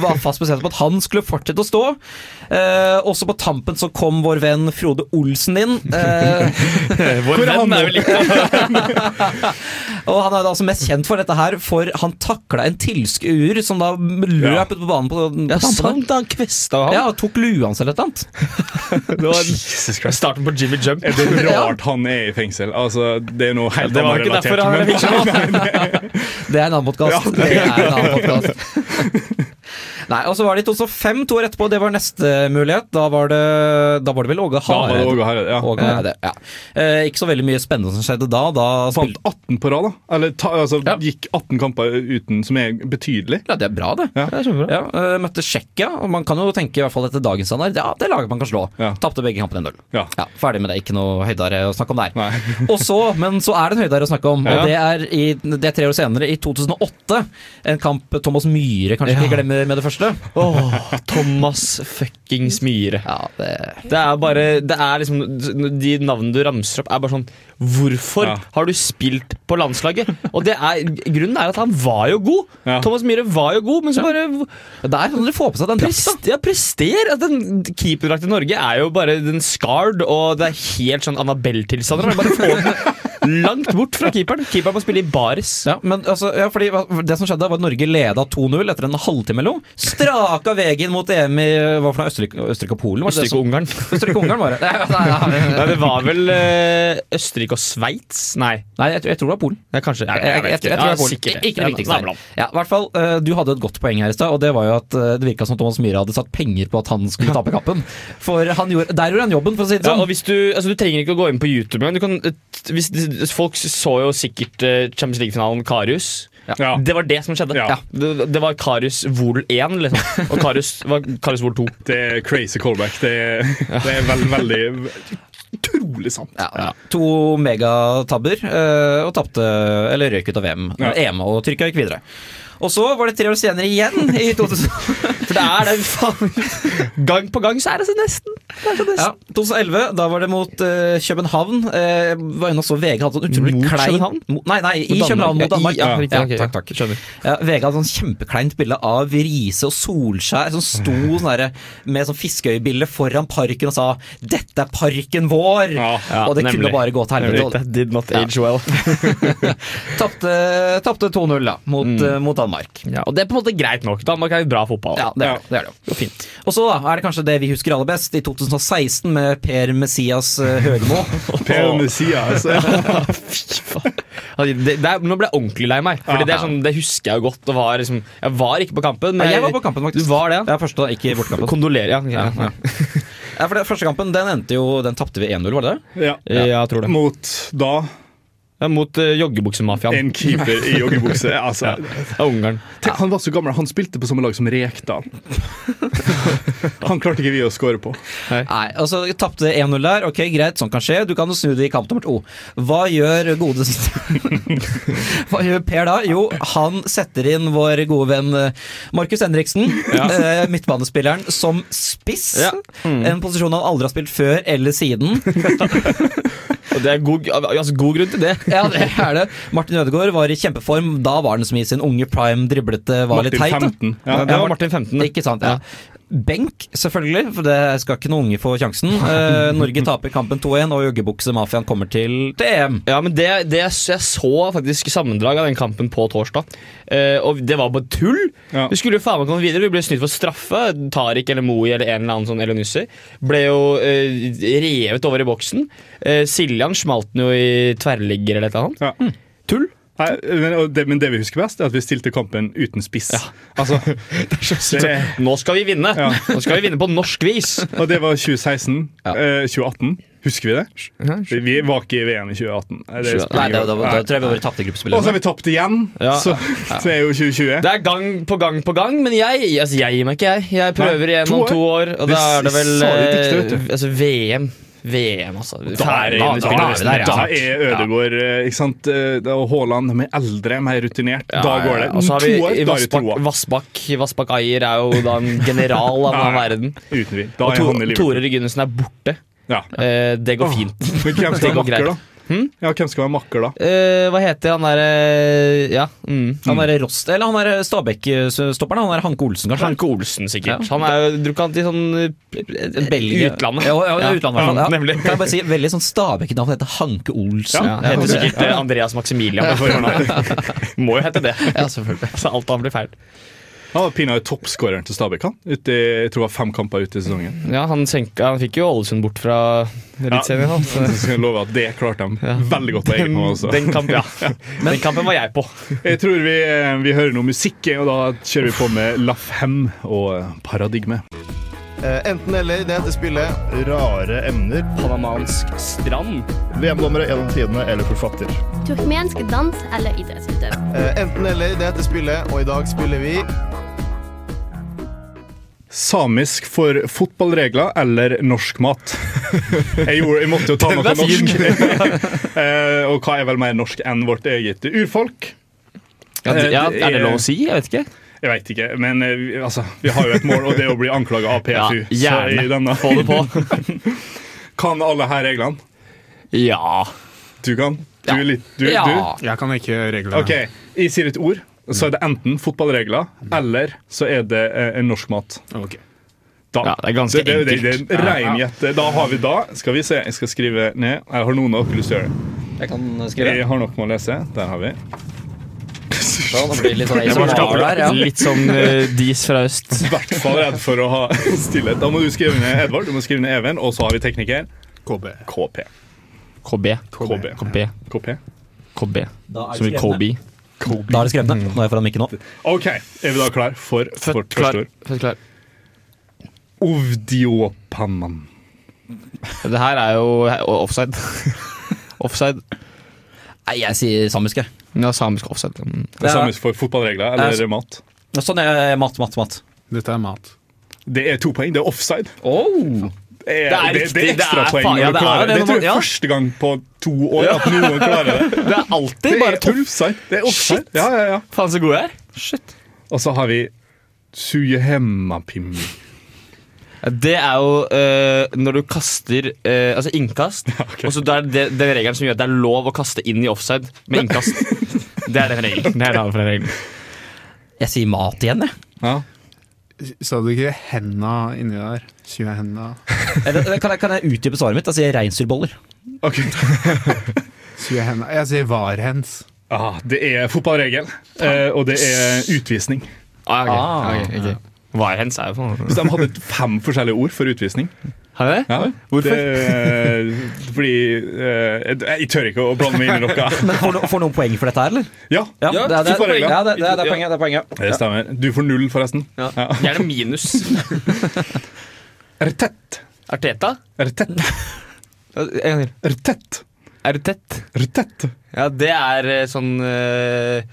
Speaker 3: var fast bestemt på at han skulle fortsette å stå. Eh, også på tampen så kom vår venn Frode Olsen inn. Eh,
Speaker 2: Vår venn er vel <laughs> ikke
Speaker 3: og han er da altså mest kjent for dette her, for han takla en tilskuer som da
Speaker 1: Ja.
Speaker 3: løp ut på banen på, på tampen.
Speaker 2: sant, han kvesta
Speaker 3: der.
Speaker 2: han.
Speaker 3: Ja, og tok lua hans eller et eller annet.
Speaker 2: Det var
Speaker 3: <laughs>
Speaker 2: starten på Jimmy Jump.
Speaker 1: Er det
Speaker 2: <laughs>
Speaker 1: rart han er i fengsel? Altså, det er noe helt
Speaker 2: Det var
Speaker 1: annet
Speaker 2: ikke derfor
Speaker 1: relatert,
Speaker 2: han
Speaker 1: men-
Speaker 2: var i fengsel.
Speaker 3: Det er en annen podkast. det er en annen podcast. Nei, og så var det i 2005, to år etterpå, det var neste mulighet. Da var det, da var det vel Åge
Speaker 1: Da var det
Speaker 3: Hareide.
Speaker 1: Åge Hareide, <laughs> ja.
Speaker 3: Åge Hareide, ja. Eh, ikke så veldig mye spennende som skjedde da. Da
Speaker 1: Vant
Speaker 3: spilte
Speaker 1: 18 på rad, da. Eller ta, altså,
Speaker 3: Ja.
Speaker 1: gikk 18 kamper uten, som er betydelig.
Speaker 3: ja, det er bra, det.
Speaker 1: Ja.
Speaker 3: Ja, eh, møtte Tsjekkia, og man kan jo tenke i hvert fall etter dagens standard Ja, det laget man kan slå.
Speaker 1: Ja.
Speaker 3: Tapte begge kampene 1-0.
Speaker 1: Ja.
Speaker 3: Ja, ferdig med det. Ikke noe høydere å snakke om der.
Speaker 1: Nei.
Speaker 3: <laughs> og så, men så er det en høydere å snakke om,
Speaker 1: Ja.
Speaker 3: og det er, i, det er tre år senere, i 2008. En kamp Thomas Myhre kanskje ikke glemmer med det første.
Speaker 2: Åh, Thomas fuckings Myhre.
Speaker 3: Ja, det
Speaker 2: Det er bare det er liksom, De navnene du ramser opp, er bare sånn Hvorfor
Speaker 1: Ja.
Speaker 2: har du spilt på landslaget? Og det er, Grunnen er at han var jo god.
Speaker 1: Ja.
Speaker 2: Thomas Myhre var jo god, men så bare
Speaker 3: Ja, Der kan dere få på seg den drakta.
Speaker 2: prester, ja, prester. At den keeperdrakten i Norge er jo bare den scarred, og det er helt sånn Annabelle-tilstander. Bare få den langt bort fra keeperen. Keeperen må spille i baris.
Speaker 3: Ja, men altså, ja, fordi hva- Det som skjedde, var at Norge leda 2-0 etter en halvtime eller noe. Straka veien mot EM i hva for noe, Østerrike, Østerrike og Polen? var det det som-
Speaker 2: Østerrike-Ungarn.
Speaker 3: Østerrike-Ungarn,
Speaker 2: <laughs>
Speaker 3: var det. Nei, nei, nei,
Speaker 2: Nei, det var vel eh, Østerrike og Sveits? Nei,
Speaker 3: nei jeg, tror- jeg tror det var Polen.
Speaker 2: ja, kanskje. Ja,
Speaker 3: Jeg, jeg, jeg, jeg, tror det var
Speaker 2: Ja,
Speaker 3: Polen.
Speaker 2: sikkert det.
Speaker 3: Ikke det
Speaker 2: Ja,
Speaker 3: viktigste.
Speaker 2: naboland.
Speaker 3: Ja, i hvert fall, eh, Du hadde et godt poeng her i stad, og det var jo at eh, det virka som Thomas Myhre hadde satt penger på at han skulle tape kappen. For han gjorde, der gjorde han jobben, for å si det
Speaker 2: Ja,
Speaker 3: sånn.
Speaker 2: og hvis du, altså, du trenger ikke å gå inn på YouTube engang. Du kan, eh, hvis, folk så jo sikkert eh, Champions League-finalen Karius.
Speaker 1: Ja.
Speaker 2: Det var det som skjedde.
Speaker 1: Ja.
Speaker 2: Det, det var Karius Vol 1, liksom. Og Karius var Karius Vol 2.
Speaker 1: Det er crazy callback. Det er, det er veld, veldig Utrolig sant.
Speaker 3: Ja, To megatabber, eh, og tapte Eller røyk ut av VM.
Speaker 1: Ja.
Speaker 3: EM og Tyrkia gikk videre. Og så var det tre år senere igjen, i <laughs> 2000,
Speaker 2: For det er det, faen. Gang på gang så er det så nesten. Det er så nesten.
Speaker 3: ja, 2011. Da var det mot eh, København. Eh, var inne og så VG hadde sånn utrolig
Speaker 2: Mot
Speaker 3: klein
Speaker 2: København?
Speaker 3: Mo- Nei, nei, i
Speaker 2: Danmark.
Speaker 3: København mot
Speaker 2: Ja, i-
Speaker 3: Danmark.
Speaker 2: ja, riktig, ok,
Speaker 3: takk, takk. Ja, VG hadde sånn kjempekleint bilde av Riise og Solskjær som sto sånn derre med sånn fiskeøyebilde foran parken og sa 'Dette er parken vår!'
Speaker 1: Ja,
Speaker 3: og det kunne bare gå til
Speaker 2: Nemlig.
Speaker 3: helvete.
Speaker 2: That did not age well.
Speaker 3: Tapte tapte 2-0 da, mot, eh, mot Danmark.
Speaker 2: <laughs> Ja, og det er på en måte greit nok. Danmark er jo bra fotball.
Speaker 3: Ja, det er det. det, er det. jo. Og så da, er det kanskje det vi husker aller best, i 2016 med Per Messias eh, Høgmo. <laughs>
Speaker 1: Per Messias.
Speaker 2: <laughs> Fy faen. Altså, det, det er, nå ble jeg ordentlig lei meg. Fordi det, er sånn, det husker jeg jo godt. Og var liksom, jeg var ikke på kampen.
Speaker 3: Nei, jeg var på kampen, faktisk.
Speaker 2: Du var det, ja?
Speaker 3: Ja, første da, ikke i bortekampen.
Speaker 2: Kondolerer. Ja, ok, ja, ja.
Speaker 3: Ja, for det, første kampen, den endte jo, den tapte vi 1-0, var det det?
Speaker 1: Ja. Eh,
Speaker 2: jeg tror det.
Speaker 1: Mot da
Speaker 2: Ja, mot uh, joggebuksemafiaen.
Speaker 1: en keeper i joggebukse. Altså,
Speaker 2: Ja, Ungarn.
Speaker 1: tenk, han var så gammel. Han spilte på samme lag som Rekdal. Han klarte ikke vi å score på.
Speaker 3: Nei, altså tapte 1-0 der, ok greit, sånn kan skje, du kan jo snu det i kamp nummer to. Hva gjør godest <laughs> Hva gjør Per da? Jo, han setter inn vår gode venn eh, Markus Henriksen, <laughs> eh, midtbanespilleren, som spiss.
Speaker 2: Ja.
Speaker 3: En posisjon han aldri har spilt før eller siden.
Speaker 2: Og det er god, altså, god grunn til det.
Speaker 3: Ja, det er det. Martin Ødegaard var i kjempeform. Da var han som i sin unge prime, driblete, var litt
Speaker 1: Martin
Speaker 3: teit. da.
Speaker 1: 15. Ja.
Speaker 2: det var Martin 15.
Speaker 3: Ikke sant, ja. benk, selvfølgelig, for det skal ikke noen unge få <laughs> sjansen. Eh, Norge taper kampen 2-1, og joggebuksemafiaen kommer til til EM.
Speaker 2: Ja, men det, det Jeg så faktisk sammendrag av den kampen på torsdag. Eh, og det var bare tull!
Speaker 1: Ja.
Speaker 2: Vi skulle jo faen meg komme videre. Vi ble snytt for straffe. Tariq eller Moui eller en eller annen sånn Elionussi ble jo eh, revet over i boksen. Eh, Siljan smalt den jo i tverrligger eller et eller annet.
Speaker 1: Ja.
Speaker 2: Tull!
Speaker 1: Nei, men, og det, men det vi husker best, er at vi stilte kampen uten spiss. Altså, det,
Speaker 2: Nå skal vi vinne!
Speaker 1: Ja.
Speaker 2: Nå skal vi vinne på norsk vis!
Speaker 1: og det var 2016. Eh, 2018. Husker vi det? Vi var ikke i VM i 2018. Nei, det spiller
Speaker 3: Nei,
Speaker 1: ingen
Speaker 3: da, da,
Speaker 1: rolle.
Speaker 3: da,
Speaker 1: Nei.
Speaker 3: tror jeg vi bare tapte
Speaker 1: Og så har
Speaker 3: gruppespillet.
Speaker 1: vi tapt igjen,
Speaker 2: Ja,
Speaker 1: så det er jo 2020.
Speaker 2: Det er gang på gang på gang, men jeg, altså, jeg gir meg ikke, jeg. Jeg prøver
Speaker 1: Nei,
Speaker 2: igjen
Speaker 1: to
Speaker 2: om
Speaker 1: år.
Speaker 2: to år, og
Speaker 1: Vi
Speaker 2: da er det vel
Speaker 1: sa det i
Speaker 2: eh,
Speaker 1: diktet, vet
Speaker 2: altså, VM. VM, altså.
Speaker 1: er,
Speaker 2: Ferdig
Speaker 1: da,
Speaker 2: med
Speaker 1: da,
Speaker 2: spillet.
Speaker 1: er, vi der, ja. da er Ødegaard eh, ikke sant? eh, da- og Haaland mer eldre, mer rutinert.
Speaker 2: Ja,
Speaker 1: da går det.
Speaker 2: ja, Og så har vi
Speaker 1: to år, da er det to
Speaker 2: Vassbakk,
Speaker 1: år.
Speaker 2: Vassbakk, Vassbakk Ayer er jo da en
Speaker 1: <laughs>
Speaker 2: general av denne
Speaker 1: Ja, ja.
Speaker 2: verden.
Speaker 1: Uten tvil. Da
Speaker 2: Og
Speaker 1: er
Speaker 2: to,
Speaker 1: han i Liverpool.
Speaker 2: Tore Regunnesen er borte.
Speaker 1: Ja.
Speaker 2: Eh, det går fint. <laughs>
Speaker 1: Men hvem skal
Speaker 2: Det
Speaker 1: være
Speaker 2: går
Speaker 1: makker,
Speaker 2: greit. Hm?
Speaker 1: da? Ja, hvem skal være makker, da?
Speaker 2: Eh, hva heter han derre Ja. Mm.
Speaker 3: eh, Han er Rost, eller han er Stabæk-stopperen. Han er Hanke Olsen, kanskje.
Speaker 2: Frank Olsen, sikkert. Han er jo drukant i sånn eh,
Speaker 3: Belgia.
Speaker 2: Utlandet.
Speaker 3: Ja, ja, ja, utlandet i hvert fall.
Speaker 2: Ja,
Speaker 3: Ja.
Speaker 2: nemlig.
Speaker 3: Kan jeg bare si, veldig sånn Stabæk-navn heter Hanke Olsen.
Speaker 2: Ja, heter sikkert eh, Andreas Maximilian. på fornavn. <laughs> Må jo hete det.
Speaker 3: Ja,
Speaker 2: <laughs>
Speaker 3: selvfølgelig.
Speaker 2: Altså, alt annet blir feil.
Speaker 1: Han var pinadø toppskåreren til Stabæk. han. Ute i, jeg tror det var fem kamper ute i sesongen.
Speaker 2: <laughs> Ja, han, senka, han fikk jo Ålesund bort fra Eliteserien. han, så-
Speaker 1: Så skal jeg love at Det klarte de veldig godt på egen hånd. <laughs> også.
Speaker 2: Den, kampen, ja. den kampen var jeg på.
Speaker 1: Jeg tror vi, eh, vi hører noe musikk, og da kjører vi på med La Femme og eh, Paradigme.
Speaker 7: Eh, Enten eller, det heter spillet Rare emner.
Speaker 2: Panamansk strand.
Speaker 7: VM-dommere gjennom tidene eller forfatter.
Speaker 8: Turkmensk dans eller idrettsutøver.
Speaker 7: Eh, Enten eller, det heter spillet, og i dag spiller vi
Speaker 1: Samisk for fotballregler eller norsk mat?
Speaker 2: <laughs>
Speaker 1: Jeg, gjorde, jeg måtte jo ta noe
Speaker 2: Den er fin.
Speaker 1: norsk. <laughs> Eh, og hva er vel mer norsk enn vårt eget urfolk?
Speaker 2: Ja, det, ja,
Speaker 1: det
Speaker 2: er det
Speaker 1: er-
Speaker 2: lov å si? Jeg vet ikke.
Speaker 1: Jeg veit ikke, men eh, vi- altså, vi har jo et mål, og det er å bli anklaga av PFU.
Speaker 2: Ja,
Speaker 1: Så i
Speaker 2: gjerne.
Speaker 1: denne,
Speaker 2: Få det på.
Speaker 1: Kan alle her reglene?
Speaker 2: Ja.
Speaker 1: Du kan? Du, er litt, du,
Speaker 2: Ja.
Speaker 1: du?
Speaker 9: Jeg kan ikke reglene.
Speaker 1: Ok, jeg sier et ord, så er det enten fotballregler,
Speaker 2: Mm.
Speaker 1: eller så er det eh, en norsk mat.
Speaker 9: Ok.
Speaker 1: Da.
Speaker 2: Ja, det er ganske
Speaker 1: det, det, det,
Speaker 2: enkelt.
Speaker 1: det er rein gjette. Da har vi da. Skal vi se, jeg skal skrive ned. Jeg har noen av dere lyst til å gjøre det.
Speaker 3: Jeg kan skrive.
Speaker 1: Jeg har nok med å lese. Der har vi.
Speaker 3: Sånn, det blir litt sånn
Speaker 2: Jeg
Speaker 3: ASMR
Speaker 2: var
Speaker 3: der, ja.
Speaker 2: Litt som eh, dis fra øst.
Speaker 1: I hvert fall redd for å ha <laughs> stillhet. Da må du skrive ned Edvard, du må skrive ned Even, og så har vi tekniker
Speaker 9: KB.
Speaker 1: KP.
Speaker 2: KB.
Speaker 1: KB.
Speaker 2: KB.
Speaker 1: KP.
Speaker 2: KB.
Speaker 3: Da er det
Speaker 2: Som i
Speaker 3: skrevne.
Speaker 2: Kobe.
Speaker 3: Da er det skrevet ned. Nå er jeg foran mikken nå.
Speaker 1: OK, er vi da klar for vårt
Speaker 2: klar.
Speaker 1: første ord?
Speaker 2: Født klar.
Speaker 1: Ovdiopanman.
Speaker 2: Det her er jo he- offside. <laughs> offside.
Speaker 3: Nei, jeg sier samisk, jeg.
Speaker 2: Ja, samisk offside. Mm.
Speaker 1: Det samme for fotballregler eller
Speaker 3: Ja.
Speaker 1: mat.
Speaker 3: Sånn, jeg, mat, mat, mat.
Speaker 9: Dette er mat.
Speaker 1: Det er to poeng. Det er offside.
Speaker 3: Oh.
Speaker 1: Det er,
Speaker 2: Det er
Speaker 1: det,
Speaker 2: riktig,
Speaker 1: det er
Speaker 2: det er
Speaker 1: ekstrapoeng
Speaker 2: faen-
Speaker 1: når
Speaker 2: ja,
Speaker 1: du
Speaker 2: det er
Speaker 1: klarer det.
Speaker 2: det,
Speaker 1: Det tror jeg
Speaker 2: ja.
Speaker 1: er første gang på to år at noen klarer
Speaker 2: <laughs>
Speaker 1: det.
Speaker 2: Det er alltid
Speaker 1: Det
Speaker 2: bare
Speaker 1: er
Speaker 2: tull.
Speaker 1: offside. Det er offside.
Speaker 2: Shit.
Speaker 1: Ja, ja, ja.
Speaker 2: Faen, så god jeg er. Shit.
Speaker 1: Og så har vi Suyehemmapim.
Speaker 2: Det er jo eh, når du kaster eh, Altså <laughs> innkast. Og så det er det, den regelen som gjør at det er lov å kaste inn i offside med innkast. <laughs> det er den regelen. Det er den andre regelen.
Speaker 3: Jeg sier mat igjen, jeg.
Speaker 1: Ja.
Speaker 9: Sa du ikke henda inni der? Tjue henda.
Speaker 3: Eller, kan, jeg kan jeg utdype svaret mitt? Da sier jeg reinsdyrboller.
Speaker 1: Ok.
Speaker 9: Tjue henda. Jeg sier varhens.
Speaker 1: <laughs> Ah, det er fotballregel, eh, og det er utvisning.
Speaker 2: Ah, ok. ok, ok. Varhens er jo på en måte
Speaker 1: Så de hadde fem forskjellige ord for utvisning.
Speaker 2: Har jeg det?
Speaker 1: Ja,
Speaker 2: Hvorfor?
Speaker 1: Det, fordi eh, jeg, jeg tør ikke å blande meg inn i noe.
Speaker 3: Men får, no, får noen poeng for dette her, eller?
Speaker 1: <laughs> Ja,
Speaker 2: Ja,
Speaker 3: det, er- det,
Speaker 1: du får
Speaker 3: er-
Speaker 1: regla.
Speaker 3: ja, det, det, er- det er poenget. Det er poenget.
Speaker 1: det stemmer. Du får null, forresten.
Speaker 2: Ja. Gjerne <laughs> minus.
Speaker 1: Rtett.
Speaker 2: Arteta?
Speaker 1: Rtett.
Speaker 2: En gang til.
Speaker 1: Rtett.
Speaker 2: Er du tett?
Speaker 1: Rtett.
Speaker 2: Ja, det er eh, sånn eh,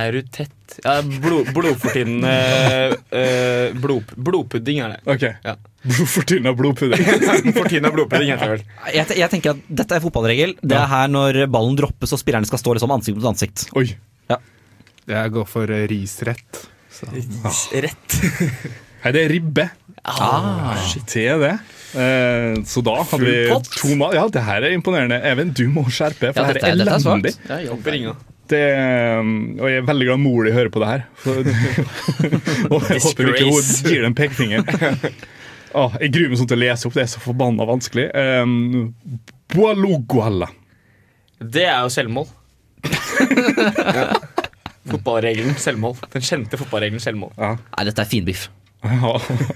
Speaker 2: Er du tett? Ja, blod, blodfortynnende eh, blod, Blodpudding er det.
Speaker 1: Ok.
Speaker 2: Ja. <laughs>
Speaker 1: Fortynna <laughs> blodpudding.
Speaker 2: Fortynna blodpudding heter det vel.
Speaker 3: Jeg, te- jeg tenker at dette er fotballregel. Det er her når ballen droppes og spillerne skal stå liksom ansikt mot ansikt.
Speaker 1: Oi.
Speaker 9: Jeg går for eh, risrett.
Speaker 2: Rett.
Speaker 1: Nei, det er ribbe.
Speaker 3: Ah.
Speaker 1: Ah, Shit, det er det. Eh, så da hadde vi
Speaker 2: Full pott.
Speaker 1: to ma Ja, det her er imponerende. Even, du må skjerpe, for
Speaker 3: Ja,
Speaker 1: det her
Speaker 3: dette
Speaker 1: er
Speaker 3: er- dette er
Speaker 1: elendig.
Speaker 3: svakt.
Speaker 2: Jeg jobber ringa.
Speaker 1: Det, er- og jeg er veldig glad mor di hører på det her. <laughs> For, og jeg håper ikke hun
Speaker 2: Disgrace.
Speaker 1: gir deg en <laughs> pekefinger. Åh, jeg gruer meg sånn til å lese opp, det er så forbanna vanskelig. Um, Boaloguala.
Speaker 2: Det er jo <laughs> selvmål. Fotballregelen selvmål. Den kjente fotballregelen selvmål.
Speaker 3: Nei, dette er <laughs> finbiff.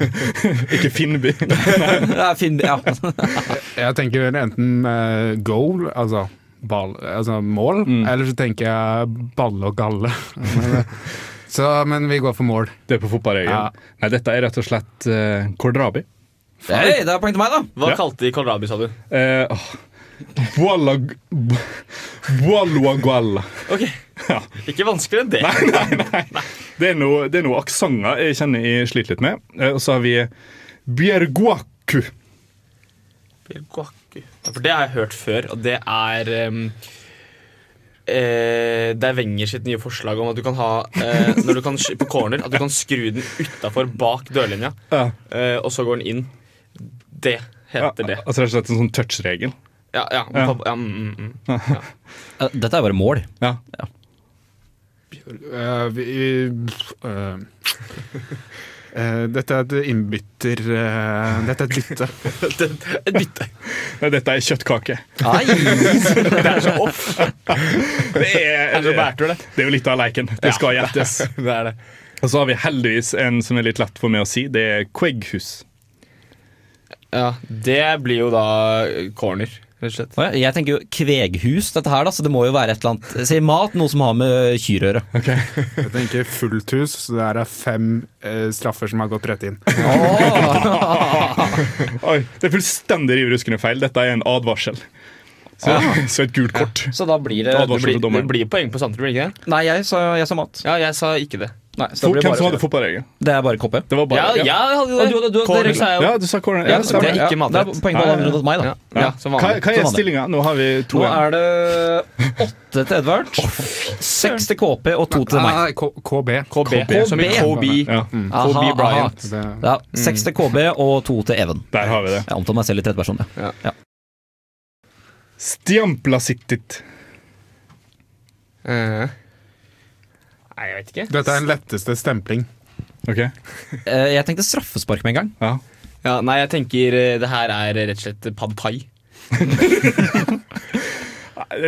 Speaker 1: <laughs> ikke
Speaker 3: <laughs>
Speaker 1: Finnby.
Speaker 3: Nei, Finnby, <laughs> ja.
Speaker 9: Jeg tenker vel enten eh, goal, altså, ball, altså mål, eller så tenker jeg balle og galle. <laughs> Men, eh, så, men vi går for mål.
Speaker 1: Det er på fotballregelen. Nei, dette er rett og slett eh, Kordrabi.
Speaker 3: Hei, det er poeng til meg, da.
Speaker 2: Hva
Speaker 1: Ja.
Speaker 2: kalte de Kolrabi, sa du?
Speaker 1: Eh, åh. Boalag- Bo- Boaloaguala.
Speaker 2: Ok, Ikke vanskeligere enn det.
Speaker 1: Det er noe, det er noe aksanger jeg kjenner jeg sliter litt med. Eh, Og så har vi Bjerguaku.
Speaker 2: Bilgoaku. Ja, For det har jeg hørt før, og det er um, eh, Det er Wenger sitt nye forslag om at du kan ha eh, Når du kan sk- på corner, at du kan skru den utafor bak dørlinja,
Speaker 1: Ja.
Speaker 2: eh, og så går den inn. Det heter det.
Speaker 1: Altså rett og slett en sånn touch-regel.
Speaker 2: Ja, ja.
Speaker 1: Ja.
Speaker 2: ja mm, mm, mm. <laughs>
Speaker 3: Dette er bare mål.
Speaker 1: Ja.
Speaker 9: Eh, vi, eh, eh, dette er et innbytter eh, Dette er et bytte.
Speaker 2: Et bytte.
Speaker 1: Nei, dette er kjøttkake.
Speaker 3: Nei!
Speaker 1: det er så off. Det er,
Speaker 2: Det er så bærtur, det.
Speaker 1: det er jo litt av leken. Det skal gjettes.
Speaker 2: <laughs> Det er det.
Speaker 1: Og så har vi heldigvis en som er litt lett for meg å si. Det er Quegghus.
Speaker 2: Ja, det blir jo da eh, corner, rett og slett.
Speaker 3: Å ja, Jeg tenker jo kveghus, dette her, da, så det må jo være et eller annet Si mat, noe som har med kyr å gjøre.
Speaker 9: Jeg tenker fullt hus, så det her er fem eh, straffer som har gått rett inn.
Speaker 1: Oi, det er fullstendig riv ruskende feil. Dette er en advarsel. Så, så et gult kort.
Speaker 3: Så da blir det
Speaker 1: Et
Speaker 2: Det
Speaker 1: Advarsel
Speaker 2: blir,
Speaker 1: til
Speaker 2: det
Speaker 1: dommeren.
Speaker 2: blir poeng på samtlige, blir det ikke det?
Speaker 3: Nei, jeg sa, jeg sa mat.
Speaker 2: Ja, jeg sa ikke det.
Speaker 3: Nei, så
Speaker 1: For,
Speaker 3: det, blir
Speaker 1: hvem som
Speaker 3: bare,
Speaker 1: hadde fotballregel?
Speaker 3: det er bare koppe.
Speaker 1: Det var
Speaker 2: Ja,
Speaker 1: bare
Speaker 2: jeg hadde
Speaker 3: Og
Speaker 2: det.
Speaker 3: du hadde- du hadde-
Speaker 2: corner
Speaker 3: dere-
Speaker 2: sa jeg
Speaker 1: Ja,
Speaker 2: jo.
Speaker 1: du sa corner.
Speaker 3: Ja,
Speaker 1: Ja,
Speaker 3: det
Speaker 1: stemmer.
Speaker 2: Det er
Speaker 3: Ja,
Speaker 2: ikke matrett.
Speaker 3: Det er poeng på alle andre unntatt meg, da.
Speaker 2: Ja, ja, som
Speaker 1: hva,
Speaker 2: vanlig.
Speaker 1: hva er
Speaker 3: Som vanlig.
Speaker 1: stillinga? Nå har vi to
Speaker 3: Nå
Speaker 1: igjen.
Speaker 3: er det åtte til Edvard, seks til KB og to til meg.
Speaker 9: Nei, Ah, K KB.
Speaker 2: KB, som i
Speaker 3: KB.
Speaker 2: Kobe,
Speaker 1: Ja.
Speaker 2: Kobe
Speaker 3: Aha, aha.
Speaker 2: Bryant.
Speaker 9: Det,
Speaker 3: Ja, Seks til KB og to til Even.
Speaker 1: Der har vi det.
Speaker 3: Jeg omtaler meg selv i tredje person. Ja. Ja.
Speaker 1: Stiamplasittit.
Speaker 2: Eh. Nei, jeg vet ikke.
Speaker 9: dette er den letteste stempling.
Speaker 1: Ok,
Speaker 3: Eh, Jeg tenkte straffespark med en gang.
Speaker 1: ja.
Speaker 2: Ja, nei, jeg tenker eh, det her er rett og slett pad thai.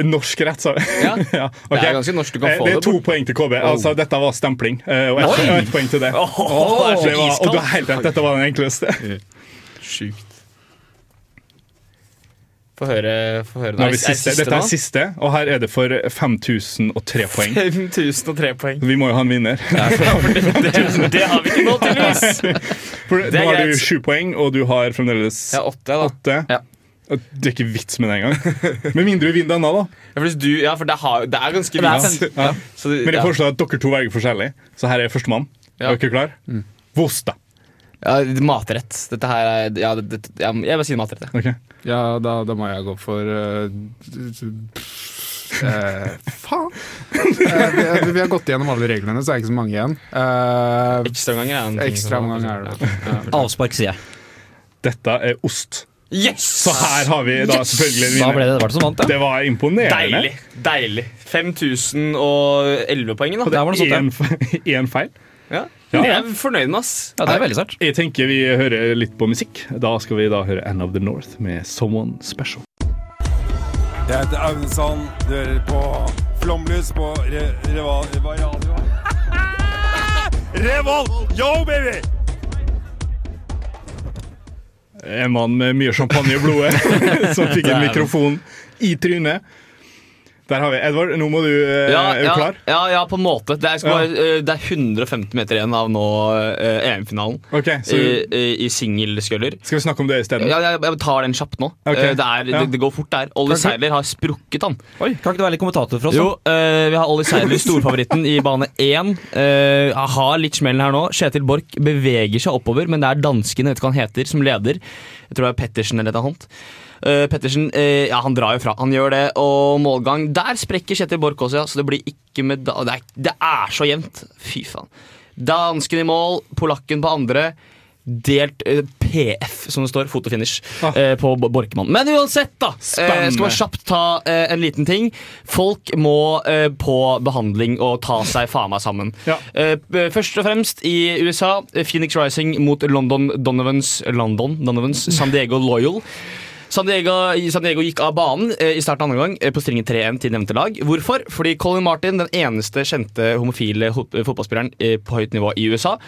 Speaker 1: Norsk rett, sa vi. <laughs>
Speaker 2: Ja.
Speaker 1: Ja, ok.
Speaker 2: Det er ganske norsk du kan
Speaker 1: Eh,
Speaker 2: få
Speaker 1: Det
Speaker 2: det Oh.
Speaker 1: er to poeng til KB. Altså, dette var stempling. eh, Og ett og ett poeng til det.
Speaker 2: det er så
Speaker 1: Det var, og du har
Speaker 2: iskaldt.
Speaker 1: helt rett, dette var den enkleste.
Speaker 2: Sjukt. Få høre, få høre.
Speaker 1: Nå er
Speaker 2: Nei,
Speaker 1: vi siste. Dette er siste, og her er det for
Speaker 2: <laughs>
Speaker 1: 5003 poeng.
Speaker 2: 5003 poeng.
Speaker 1: Vi må jo ha en vinner.
Speaker 2: Det, det har vi ikke nå, <laughs> tydeligvis.
Speaker 1: For
Speaker 2: er
Speaker 1: Nå har du
Speaker 2: greit.
Speaker 1: sju poeng, og du har fremdeles
Speaker 2: Jeg har åtte, da.
Speaker 1: åtte.
Speaker 3: Ja.
Speaker 1: Det er ikke vits med det engang. Med mindre du vinner denne, da.
Speaker 2: Ja, for, hvis du, ja, for det, har, det er ganske vilt.
Speaker 1: Ja.
Speaker 2: Så det-
Speaker 1: Men jeg
Speaker 2: ja.
Speaker 1: foreslår at dere to velger forskjellig, så her er førstemann.
Speaker 2: Ja.
Speaker 1: Er dere klar?
Speaker 3: Mm.
Speaker 1: Vosta.
Speaker 2: ja, matrett. Dette her er ja, det, det, ja, Jeg bare sier matrett. jeg.
Speaker 1: Ok.
Speaker 9: Ja, da, da må jeg gå for eh, <laughs> eh, Faen! Eh, vi, vi har gått gjennom alle reglene, så er det ikke så mange igjen. Eh,
Speaker 2: Ekstraomganger er en ting som-
Speaker 9: Ekstraomgang er det.
Speaker 3: Avspark, sier jeg.
Speaker 1: Dette er ost.
Speaker 2: Yes!
Speaker 1: Så her har vi da selvfølgelig en
Speaker 3: Da ble
Speaker 1: vinner.
Speaker 3: det Edvard som vant, ja.
Speaker 1: Det var imponerende.
Speaker 2: Deilig. deilig 5011 poeng, da. sånn,
Speaker 3: Der var det sånt, ja.
Speaker 1: Én feil.
Speaker 2: Ja. Jeg er fornøyd med ass.
Speaker 3: ja. Det er veldig sterkt.
Speaker 1: Jeg tenker vi hører litt på musikk. Da skal vi da høre End of the North med Someone Special.
Speaker 10: Jeg heter Aunesand, du hører på Flomlys på re Reval... Radio. Revolt! Yo, baby!
Speaker 1: En mann med mye champagne i blodet <laughs> som fikk en mikrofon i trynet. Der har vi Edvard. Nå må du eh,
Speaker 2: Ja,
Speaker 1: Er du
Speaker 2: ja,
Speaker 1: klar?
Speaker 2: ja, ja, på en måte. Det er, jeg skal
Speaker 1: Ja.
Speaker 2: bare, eh, det er 150 meter igjen av nå eh, EM-finalen
Speaker 1: Ok, så
Speaker 2: i, i- i singelsculler.
Speaker 1: Skal vi snakke om det isteden?
Speaker 2: Eh, Ja, jeg, jeg tar den kjapt nå.
Speaker 1: Ok,
Speaker 2: Eh, Det, er,
Speaker 1: ja.
Speaker 2: det, det går fort der. Olli
Speaker 1: Kanskje-
Speaker 2: Seiler har sprukket, han.
Speaker 3: Oi, Kan ikke du være litt kommentator for oss?
Speaker 2: Jo,
Speaker 3: da?
Speaker 2: eh, Vi har Olli Seiler, storfavoritten, i bane én. Eh, jeg har litt smell her nå. Kjetil Borch beveger seg oppover, men det er dansken jeg vet ikke hva han heter, som leder. Jeg tror det er Pettersen eller et eller annet. Eh, Pettersen eh, ja, han drar jo fra. Han gjør det, og målgang Der sprekker Kjetil Borch også, ja, så det blir ikke med da det, er, det er så jevnt. Fy faen. Dansken i mål, polakken på andre. delt eh, PF, som det står, fotofinish, eh, på Bo- Borkmann. Men uansett, da! Eh, skal bare kjapt ta eh, en liten ting. Folk må eh, på behandling og ta seg faen meg sammen. Eh, p- først og fremst i USA. eh, Phoenix Rising mot London Donovans, London Donovans San Diego Loyal. San Diego, San Diego gikk av banen eh, i starten av andre gang eh, på stringen 3-1 til nevnte lag. Hvorfor? Fordi Colin Martin, den eneste kjente homofile ho- fotballspilleren eh, på høyt nivå i USA,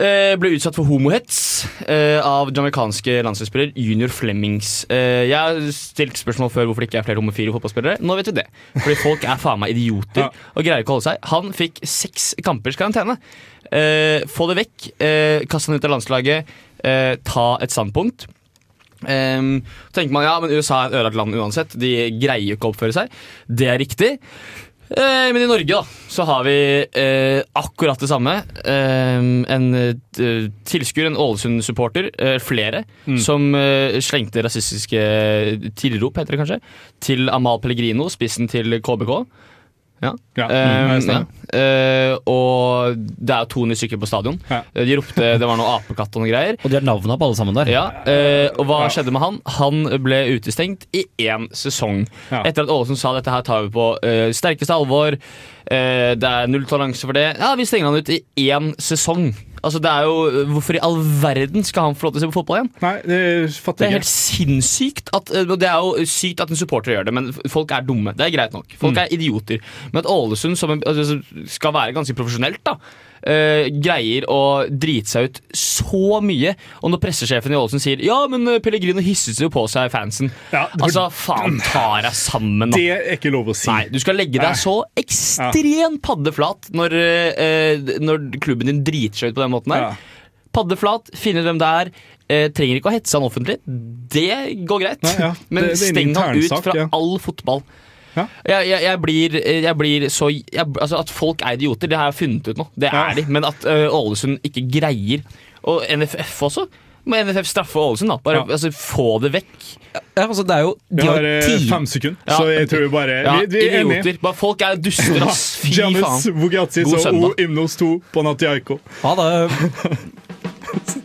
Speaker 2: eh, ble utsatt for homohets eh, av jamaicanske landslagsspiller Junior Flemmings. Eh, jeg har stilt spørsmål før hvorfor det ikke er flere homofile fotballspillere. Nå vet vi det. Fordi folk er faen meg idioter og greier ikke å holde seg. Han fikk seks kampers karantene. Eh, få det vekk. Eh, Kast han ut av landslaget. Eh, ta et standpunkt. Ehm, så tenker man ja, men USA er et ødelagt land uansett. De greier jo ikke å oppføre seg. Det er riktig. Eh, men i Norge da, så har vi eh, akkurat det samme. Ehm, en eh, tilskuer, en Ålesund-supporter, eh, flere,
Speaker 11: Mm.
Speaker 2: som eh, slengte rasistiske eh, tilrop, heter det kanskje, til Amal Pellegrino, spissen til KBK. Ja.
Speaker 11: mm,
Speaker 2: Ehm,
Speaker 11: jeg stemmer.
Speaker 2: ja. Eh, og det er jo 200 stykker på stadion. Eh, De ropte det var noe apekatt og noe greier.
Speaker 3: Og de har navnet på alle sammen der.
Speaker 2: Ja, eh, og hva skjedde med han? Han ble utestengt i én sesong. Etter at Ålesund sa dette her tar vi på eh, sterkeste alvor, eh, det er null toleranse for det. Ja, vi stenger han ut i én sesong. Altså, det er jo, Hvorfor i all verden skal han få lov til å se på fotball igjen?
Speaker 1: Nei, Det fatter
Speaker 2: det er
Speaker 1: jeg
Speaker 2: helt sinnssykt at, eh, og det er jo sykt at en supporter gjør det, men f- folk er dumme. Det er greit nok. Folk er idioter. Men at Ålesund, som en- altså, som skal være ganske profesjonelt, da, eh, greier å drite seg ut så mye. Og når pressesjefen i Ålesund sier ja, men eh, Pellegrino hisset jo på seg fansen. altså, faen, ta deg sammen, da.
Speaker 1: Det er ikke lov å si.
Speaker 2: Nei, du skal legge deg så ekstremt paddeflat når, eh, når klubben din driter seg ut på den måten her. Paddeflat, finne ut hvem det er. Eh, trenger ikke å hetse han offentlig. Det går greit.
Speaker 1: Nei, ja.
Speaker 2: Men
Speaker 1: Det- det er en
Speaker 2: steng han ut
Speaker 1: internsak,
Speaker 2: fra
Speaker 1: ja.
Speaker 2: all fotball. Jeg, jeg, jeg, blir, eh, jeg blir så jeg, altså At folk er idioter, det har jeg funnet ut nå. Det er de. Men at eh, Ålesund ikke greier Og NFF også. Må NFF straffe Ålesund, da. Bare altså, få det vekk.
Speaker 3: Ja, altså, det er jo
Speaker 1: Vi
Speaker 2: de har
Speaker 1: har eh,
Speaker 2: ti-
Speaker 1: fem sekunder, så jeg tror vi bare
Speaker 2: Ja,
Speaker 1: vi, vi er enige.
Speaker 2: idioter. Bare folk er duster, ass.
Speaker 1: <laughs>
Speaker 2: Fy
Speaker 1: Giannis
Speaker 2: faen.
Speaker 1: Vugiatis
Speaker 2: God
Speaker 1: og
Speaker 2: søndag.
Speaker 1: O Imnos 2 på Natiaiko.
Speaker 3: Ha det.